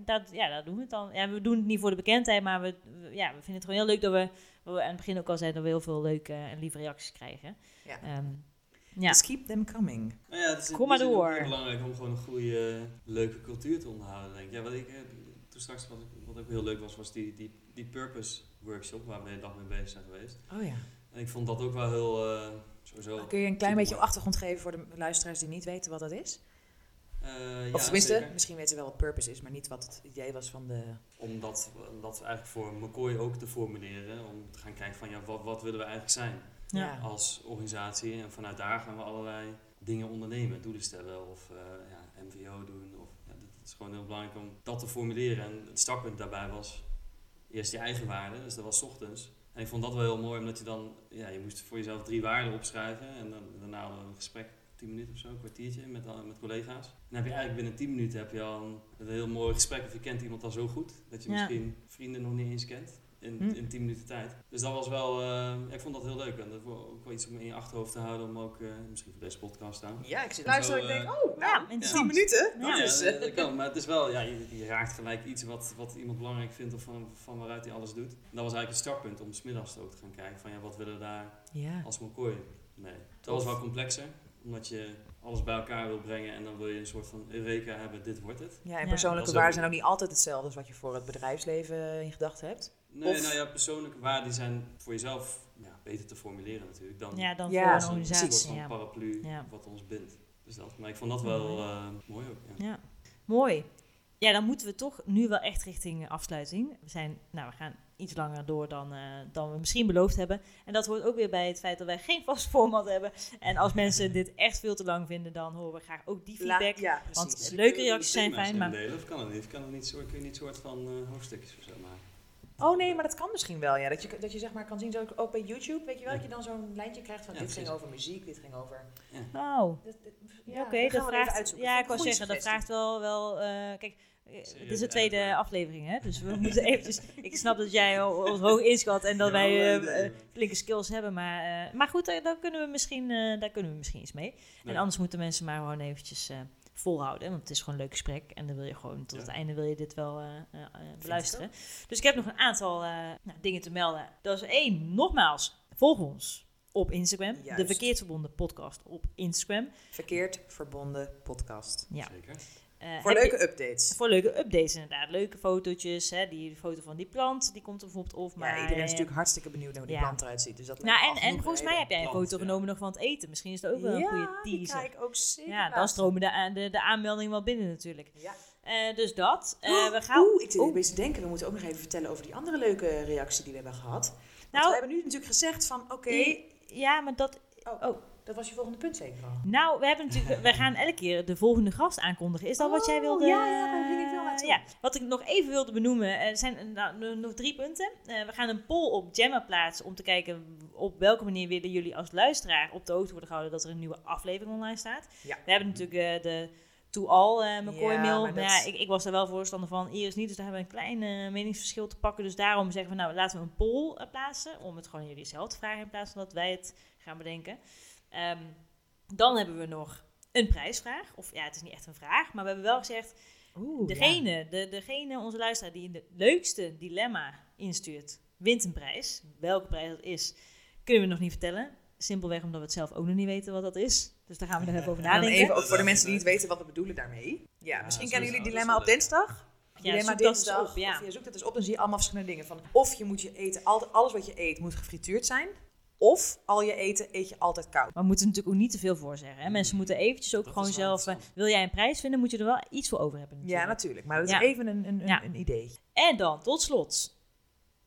Speaker 2: Dat, ja, dat doen we het dan. Ja, we doen het niet voor de bekendheid, maar we, we- ja, we vinden het gewoon heel leuk dat we, wat we aan het begin ook al zeiden, dat we heel veel leuke en lieve reacties krijgen.
Speaker 1: Ja.
Speaker 2: Ehm, ja.
Speaker 1: Just keep them coming.
Speaker 4: Nou ja, het is in
Speaker 2: Kom
Speaker 4: die
Speaker 2: maar
Speaker 4: zin ook
Speaker 2: door.
Speaker 4: heel belangrijk om gewoon een goede, leuke cultuur te onderhouden, denk ik. Ja, wat ik eh, toen straks, wat, ik- wat ook heel leuk was, was die, die, die purpose workshop waar we de hele dag mee bezig zijn geweest.
Speaker 1: Oh ja.
Speaker 4: En ik vond dat ook wel heel, eh, sowieso...
Speaker 1: Kun je een klein
Speaker 4: Teamwork.
Speaker 1: beetje achtergrond geven voor de luisteraars die niet weten wat dat is?
Speaker 4: eh, ja,
Speaker 1: of tenminste,
Speaker 4: zeker.
Speaker 1: misschien weten ze wel wat purpose is, maar niet wat het idee was van de...
Speaker 4: Om dat, om dat eigenlijk voor McCoy ook te formuleren. Om te gaan kijken van, ja, wat, wat willen we eigenlijk zijn
Speaker 2: Ja.
Speaker 1: Ja.
Speaker 4: als organisatie? En vanuit daar gaan we allerlei dingen ondernemen. Doelen stellen of eh, ja, MVO doen. Of, ja, dat- het is gewoon heel belangrijk om dat te formuleren. En het startpunt daarbij was eerst je eigen waarde. Dus dat was 's ochtends. En ik vond dat wel heel mooi, omdat je dan... Ja, je moest voor jezelf drie waarden opschrijven. En dan, daarna hadden we een gesprek 10 minuten of zo, een kwartiertje met, al- met collega's. En dan heb je eigenlijk binnen 10 minuten heb je al een, een heel mooi gesprek. Of je kent iemand al zo goed dat je
Speaker 2: Ja.
Speaker 4: misschien vrienden nog niet eens kent. In,
Speaker 1: Hm.
Speaker 4: in 10 minuten tijd. Dus dat was wel, eh, ja, ik vond dat heel leuk. En dat was ook wel iets om in je achterhoofd te houden. Om ook, eh, misschien voor deze podcast aan.
Speaker 1: Ja, ik zit
Speaker 4: Luister,
Speaker 1: luisteren
Speaker 4: Zo,
Speaker 1: en
Speaker 4: ik
Speaker 1: ik
Speaker 4: eh,
Speaker 1: denk,
Speaker 4: denk,
Speaker 1: oh,
Speaker 2: nou,
Speaker 1: nou,
Speaker 2: Ja, interessant.
Speaker 1: 10 minuten.
Speaker 4: Ja,
Speaker 1: Dat is...
Speaker 4: ja, dat kan. Maar het is wel, ja, je, je raakt gelijk iets wat, wat iemand belangrijk vindt of van, van waaruit hij alles doet. En dat was eigenlijk het startpunt om smiddags ook te gaan kijken van ja, wat willen we daar
Speaker 1: ja.
Speaker 4: als McCoy mee. Dat was wel complexer, omdat je alles bij elkaar wil brengen en dan wil je een soort van eureka hebben, dit wordt het.
Speaker 1: ja, en
Speaker 2: Ja.
Speaker 1: persoonlijke
Speaker 4: Dat is
Speaker 1: waarden
Speaker 4: ook-
Speaker 1: zijn ook niet altijd hetzelfde als wat je voor het bedrijfsleven in gedachten hebt.
Speaker 4: Nee,
Speaker 1: Of-
Speaker 4: nou ja, persoonlijke waarden die zijn voor jezelf ja, beter te formuleren natuurlijk dan,
Speaker 2: Ja, dan
Speaker 1: Ja,
Speaker 2: voor een
Speaker 4: als een soort
Speaker 2: organisatie.
Speaker 4: van
Speaker 2: Ja.
Speaker 4: paraplu
Speaker 2: Ja.
Speaker 4: wat ons bindt. Dus dat, maar ik vond dat wel eh, mooi ook. Ja.
Speaker 2: Ja, mooi. Ja, dan moeten we toch nu wel echt richting eh, afsluiting. We, zijn, nou, we gaan iets langer door dan, eh, dan we misschien beloofd hebben. En dat hoort ook weer bij het feit dat wij geen vast format hebben. En als mensen dit echt veel te lang vinden, dan horen we graag ook die feedback.
Speaker 1: ja,
Speaker 2: want-
Speaker 1: precies.
Speaker 2: Leuke reacties zijn
Speaker 4: eh, Thema's
Speaker 2: fijn, maar-
Speaker 4: indelen, Of kan het niet? Kan het niet soort, kun je niet soort van eh, hoofdstukjes of zo maken?
Speaker 1: Oh nee, maar dat kan misschien wel. Ja. Dat, je, dat je zeg maar kan zien, zo ook bij YouTube, weet je wel,
Speaker 4: Ja.
Speaker 1: dat je dan zo'n lijntje krijgt van
Speaker 4: Ja,
Speaker 1: dit
Speaker 4: precies.
Speaker 1: ging over muziek, dit ging over...
Speaker 2: Nou,
Speaker 1: Dat- dat-
Speaker 2: ja,
Speaker 1: ja,
Speaker 2: oké.
Speaker 1: dat gaan
Speaker 2: dat
Speaker 1: we even
Speaker 2: vraagt,
Speaker 1: uitzoeken.
Speaker 2: ja,
Speaker 1: Vind
Speaker 2: ik wou
Speaker 1: een goede
Speaker 2: zeggen, dat
Speaker 1: suggestie.
Speaker 2: vraagt wel... wel eh, kijk, eh, het is
Speaker 4: Serieus,
Speaker 2: de tweede
Speaker 4: eigenlijk.
Speaker 2: aflevering, hè? Dus we moeten eventjes... Ik snap dat jij o- ons hoog inschat en dat
Speaker 4: Ja,
Speaker 2: wij...
Speaker 4: wel
Speaker 2: eh,
Speaker 4: leuk,
Speaker 2: eh, flinke skills hebben. Maar, eh, maar goed, daar, daar, kunnen we misschien, eh, daar kunnen we misschien iets mee.
Speaker 4: Nee.
Speaker 2: En anders moeten mensen maar gewoon eventjes eh, volhouden. Want het is gewoon een leuk gesprek. En dan wil je gewoon tot
Speaker 4: Ja.
Speaker 2: het einde wil je dit wel eh, eh, eh, beluisteren. Dus ik heb nog een aantal eh, nou, dingen te melden. Dat is één, nogmaals, volg ons op Instagram. De
Speaker 1: Juist.
Speaker 2: Verkeerd Verbonden podcast op Instagram.
Speaker 1: Verkeerd verbonden podcast.
Speaker 2: Ja.
Speaker 4: Zeker.
Speaker 2: Eh,
Speaker 1: Voor
Speaker 2: heb je-
Speaker 1: leuke updates.
Speaker 2: voor leuke updates inderdaad. Leuke fotootjes. Hè, die de foto van die plant, die komt er bijvoorbeeld op.
Speaker 1: Maar
Speaker 2: Maar
Speaker 1: iedereen
Speaker 2: eh,
Speaker 1: is natuurlijk hartstikke benieuwd naar hoe die
Speaker 2: Ja.
Speaker 1: plant eruit ziet. Dus dat
Speaker 2: Nou,
Speaker 1: lijkt me
Speaker 2: en, en
Speaker 1: genoeg
Speaker 2: volgens mij heb jij een
Speaker 4: plant,
Speaker 2: foto
Speaker 4: ja.
Speaker 2: genomen nog van het eten. Misschien is dat ook wel een
Speaker 1: ja,
Speaker 2: goede
Speaker 1: die
Speaker 2: teaser.
Speaker 1: krijg ik ook zeker.
Speaker 2: Ja, dan stromen de, aan- de, de aanmeldingen wel binnen natuurlijk.
Speaker 1: Ja.
Speaker 2: Eh, dus dat. Eh,
Speaker 1: Oh,
Speaker 2: we gaan...
Speaker 1: Oeh, ik zit
Speaker 2: Oeh.
Speaker 1: even te denken. We moeten ook nog even vertellen over die andere leuke reactie die we hebben gehad. Want
Speaker 2: Nou-
Speaker 1: we hebben nu natuurlijk gezegd van, oké,
Speaker 2: I- Ja, maar dat...
Speaker 1: Oh.
Speaker 2: Oh.
Speaker 1: dat was je volgende punt zeker al.
Speaker 2: Nou, we hebben natuurlijk... we gaan elke keer de volgende gast aankondigen. Is dat wat jij
Speaker 1: Oh,
Speaker 2: wilde...
Speaker 1: ja, ja, daar ging ik wel naartoe.
Speaker 2: Ja, wat ik nog even wilde benoemen. Er zijn eh, nou, n- nog drie punten. Eh, we gaan een poll op Gemma plaatsen om te kijken op welke manier willen jullie als luisteraar op de hoogte worden gehouden dat er een nieuwe aflevering online staat.
Speaker 1: Ja.
Speaker 2: We hebben natuurlijk eh, de To All eh McCoy
Speaker 1: Ja,
Speaker 2: mail.
Speaker 1: maar
Speaker 2: Maar
Speaker 1: dat-
Speaker 2: ja, ik, ik was daar wel voorstander van. Iris niet, dus daar hebben we een klein eh, meningsverschil te pakken. Dus daarom zeggen we, nou laten we een poll eh, plaatsen. Om het gewoon jullie zelf te vragen in plaats van dat wij het gaan bedenken. Ehm, dan hebben we nog een prijsvraag. Of ja, het is niet echt een vraag. Maar we hebben wel gezegd,
Speaker 1: Oeh,
Speaker 2: degene, de, degene onze luisteraar die de leukste dilemma instuurt, wint een prijs. Welke prijs dat is, kunnen we nog niet vertellen. Simpelweg omdat we het zelf ook nog niet weten wat dat is. Dus daar gaan we nog even over
Speaker 1: Ja. Dan
Speaker 2: nadenken.
Speaker 1: even ook voor de mensen die niet weten wat we bedoelen daarmee. Ja,
Speaker 4: Ja,
Speaker 1: misschien kennen
Speaker 4: sowieso,
Speaker 1: jullie
Speaker 4: dat is
Speaker 1: Dilemma
Speaker 4: wel
Speaker 1: op
Speaker 4: leuk.
Speaker 1: dinsdag.
Speaker 2: Ja,
Speaker 1: dilemma
Speaker 2: zoek dat eens
Speaker 1: dinsdag.
Speaker 2: op, ja.
Speaker 1: Of je zoekt het eens op en zie je allemaal verschillende dingen. Van of je moet je eten, altijd, alles wat je eet moet gefrituurd zijn. Of al je eten eet je altijd koud.
Speaker 2: Maar we moeten er natuurlijk ook niet te veel voor zeggen. Hè? Mensen moeten eventjes ook
Speaker 4: Mm. Dat
Speaker 2: gewoon
Speaker 4: is wel
Speaker 2: zelf... eh, Wil jij een prijs vinden, moet je er wel iets voor over hebben
Speaker 1: Ja,
Speaker 2: natuurlijk.
Speaker 1: natuurlijk. Maar dat is
Speaker 2: Ja.
Speaker 1: even een, een, een,
Speaker 2: Ja.
Speaker 1: een idee.
Speaker 2: en dan, tot slot,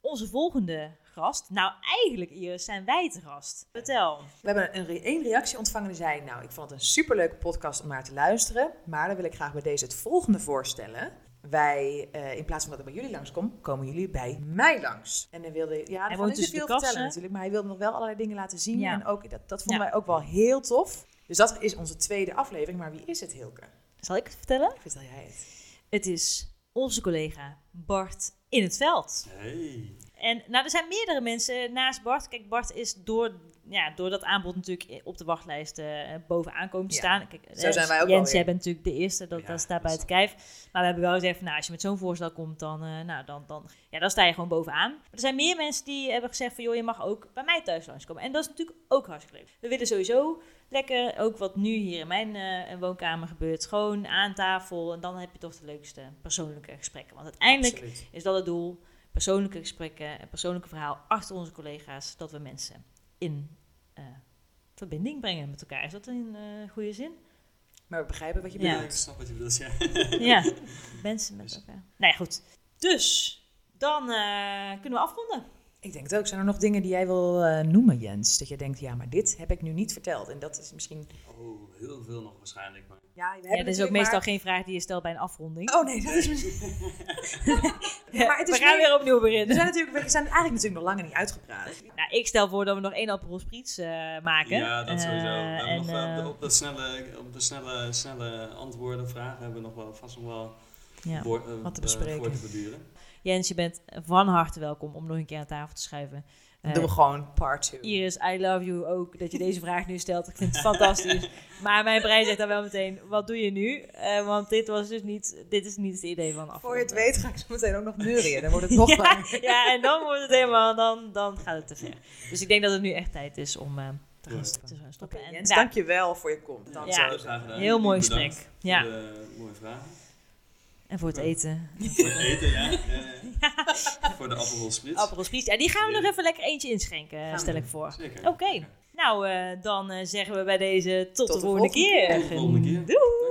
Speaker 2: onze volgende grast. Nou, eigenlijk Iris, zijn wij te gast. Vertel.
Speaker 1: We hebben een, re- één reactie ontvangen die zei, nou, ik vond het een superleuke podcast om naar te luisteren, maar dan wil ik graag bij deze het volgende voorstellen. Wij, eh, in plaats van dat ik bij jullie langskom, komen jullie bij mij langs. En dan wilde, ja, hij
Speaker 2: woont
Speaker 1: wilde niet
Speaker 2: tussen dus de
Speaker 1: veel
Speaker 2: kassen.
Speaker 1: vertellen natuurlijk, maar hij wilde nog wel allerlei dingen laten zien.
Speaker 2: Ja.
Speaker 1: En ook, dat, dat vonden
Speaker 2: Ja.
Speaker 1: wij ook wel heel tof. Dus dat is onze tweede aflevering, maar wie is het, Hilke?
Speaker 2: Zal ik het vertellen?
Speaker 1: Vertel jij het.
Speaker 2: Het is onze collega Bart in het veld.
Speaker 4: Hey.
Speaker 2: En nou, er zijn meerdere mensen naast Bart. Kijk, Bart is door, ja, door dat aanbod natuurlijk op de wachtlijst eh, bovenaan komen te
Speaker 1: Ja.
Speaker 2: staan. Kijk,
Speaker 1: Zo
Speaker 2: eh,
Speaker 1: zijn wij ook
Speaker 2: Jens,
Speaker 1: alweer.
Speaker 2: jij bent natuurlijk de eerste, dat,
Speaker 4: Ja,
Speaker 2: dat staat
Speaker 4: dat
Speaker 2: bij
Speaker 4: is
Speaker 2: het kijf. Maar we hebben wel gezegd, van, nou, als je met zo'n voorstel komt, dan, eh, nou, dan, dan, ja, dan sta je gewoon bovenaan. Maar er zijn meer mensen die hebben gezegd van, joh, je mag ook bij mij thuis langskomen. En dat is natuurlijk ook hartstikke leuk. We willen sowieso lekker, ook wat nu hier in mijn eh, woonkamer gebeurt, gewoon aan tafel. En dan heb je toch de leukste persoonlijke gesprekken. Want uiteindelijk
Speaker 1: Absoluut.
Speaker 2: is dat het doel. Persoonlijke gesprekken en persoonlijke verhaal achter onze collega's. Dat we mensen in eh, verbinding brengen met elkaar. Is dat een eh, goede zin?
Speaker 4: [laughs]
Speaker 1: Maar we begrijpen wat je
Speaker 2: Ja.
Speaker 4: Ja.
Speaker 1: bedoelt.
Speaker 4: ik snap wat je bedoelt. Ja. [laughs]
Speaker 2: ja, mensen met elkaar. Nou ja, goed. Dus, dan eh, kunnen we afronden.
Speaker 1: Ik denk het ook. Zijn er nog dingen die jij wil eh, noemen, Jens? Dat je denkt, ja, maar dit heb ik nu niet verteld. En dat is misschien...
Speaker 4: Oh, heel veel nog waarschijnlijk. Maar
Speaker 1: Ja, we
Speaker 2: Ja, dat is ook meestal geen vraag die je stelt bij een afronding.
Speaker 1: Oh nee, dat is misschien...
Speaker 4: Oh,
Speaker 1: maar het is
Speaker 2: [laughs] we gaan
Speaker 1: meer-
Speaker 2: weer opnieuw
Speaker 1: We
Speaker 2: beginnen. [laughs]
Speaker 1: zijn, natuurlijk, we zijn eigenlijk natuurlijk nog langer niet uitgepraat.
Speaker 2: Nou, ik stel voor dat we nog één Aperol Spritz eh, maken.
Speaker 4: Ja, dat
Speaker 2: Eh,
Speaker 4: sowieso. We hebben
Speaker 2: en,
Speaker 4: nog wel op de-
Speaker 2: eh,
Speaker 4: op de, snelle, op de snelle, snelle antwoorden, vragen hebben we nog wel vast nog wel
Speaker 2: ja.
Speaker 4: woord- eh,
Speaker 1: wat te
Speaker 4: eh,
Speaker 1: bespreken.
Speaker 4: voor te verduren.
Speaker 2: Jens, je bent van harte welkom om nog een keer aan tafel te schuiven. Eh,
Speaker 1: Dan doen we gewoon part 2.
Speaker 2: Iris, I love you ook dat je deze vraag nu stelt. Ik vind het [laughs] fantastisch. Maar mijn brein zegt dan wel meteen, wat doe je nu? Eh, want dit was dus niet, dit is niet het idee van af.
Speaker 1: Voor je het weet ga ik zo meteen ook nog neurien. Dan
Speaker 2: [laughs]
Speaker 1: wordt het nog
Speaker 2: ja,
Speaker 1: langer.
Speaker 2: ja, en dan wordt het helemaal, dan, dan gaat het te ver. Dus ik denk dat het nu echt tijd is om eh, te gaan
Speaker 4: Ja.
Speaker 2: st- te gaan stoppen. En,
Speaker 1: Jens,
Speaker 2: ja,
Speaker 1: dankjewel voor je komst.
Speaker 4: Ja,
Speaker 2: Ja.
Speaker 4: heel graag gedaan.
Speaker 2: heel mooi
Speaker 4: Jullie bedankt
Speaker 2: gesprek. Ja,
Speaker 4: Voor de mooie vragen.
Speaker 2: en voor het eten.
Speaker 4: Voor het eten, ja. Eh, Voor de appelrol spritz.
Speaker 2: Aperol Spritz. Ja, die gaan we nog even lekker eentje inschenken,
Speaker 1: we
Speaker 2: stel ik
Speaker 4: doen.
Speaker 2: voor.
Speaker 4: Zeker.
Speaker 2: Oké, nou eh, dan eh, zeggen we bij deze tot, de volgende, keer.
Speaker 4: Tot de volgende keer.
Speaker 2: Doei!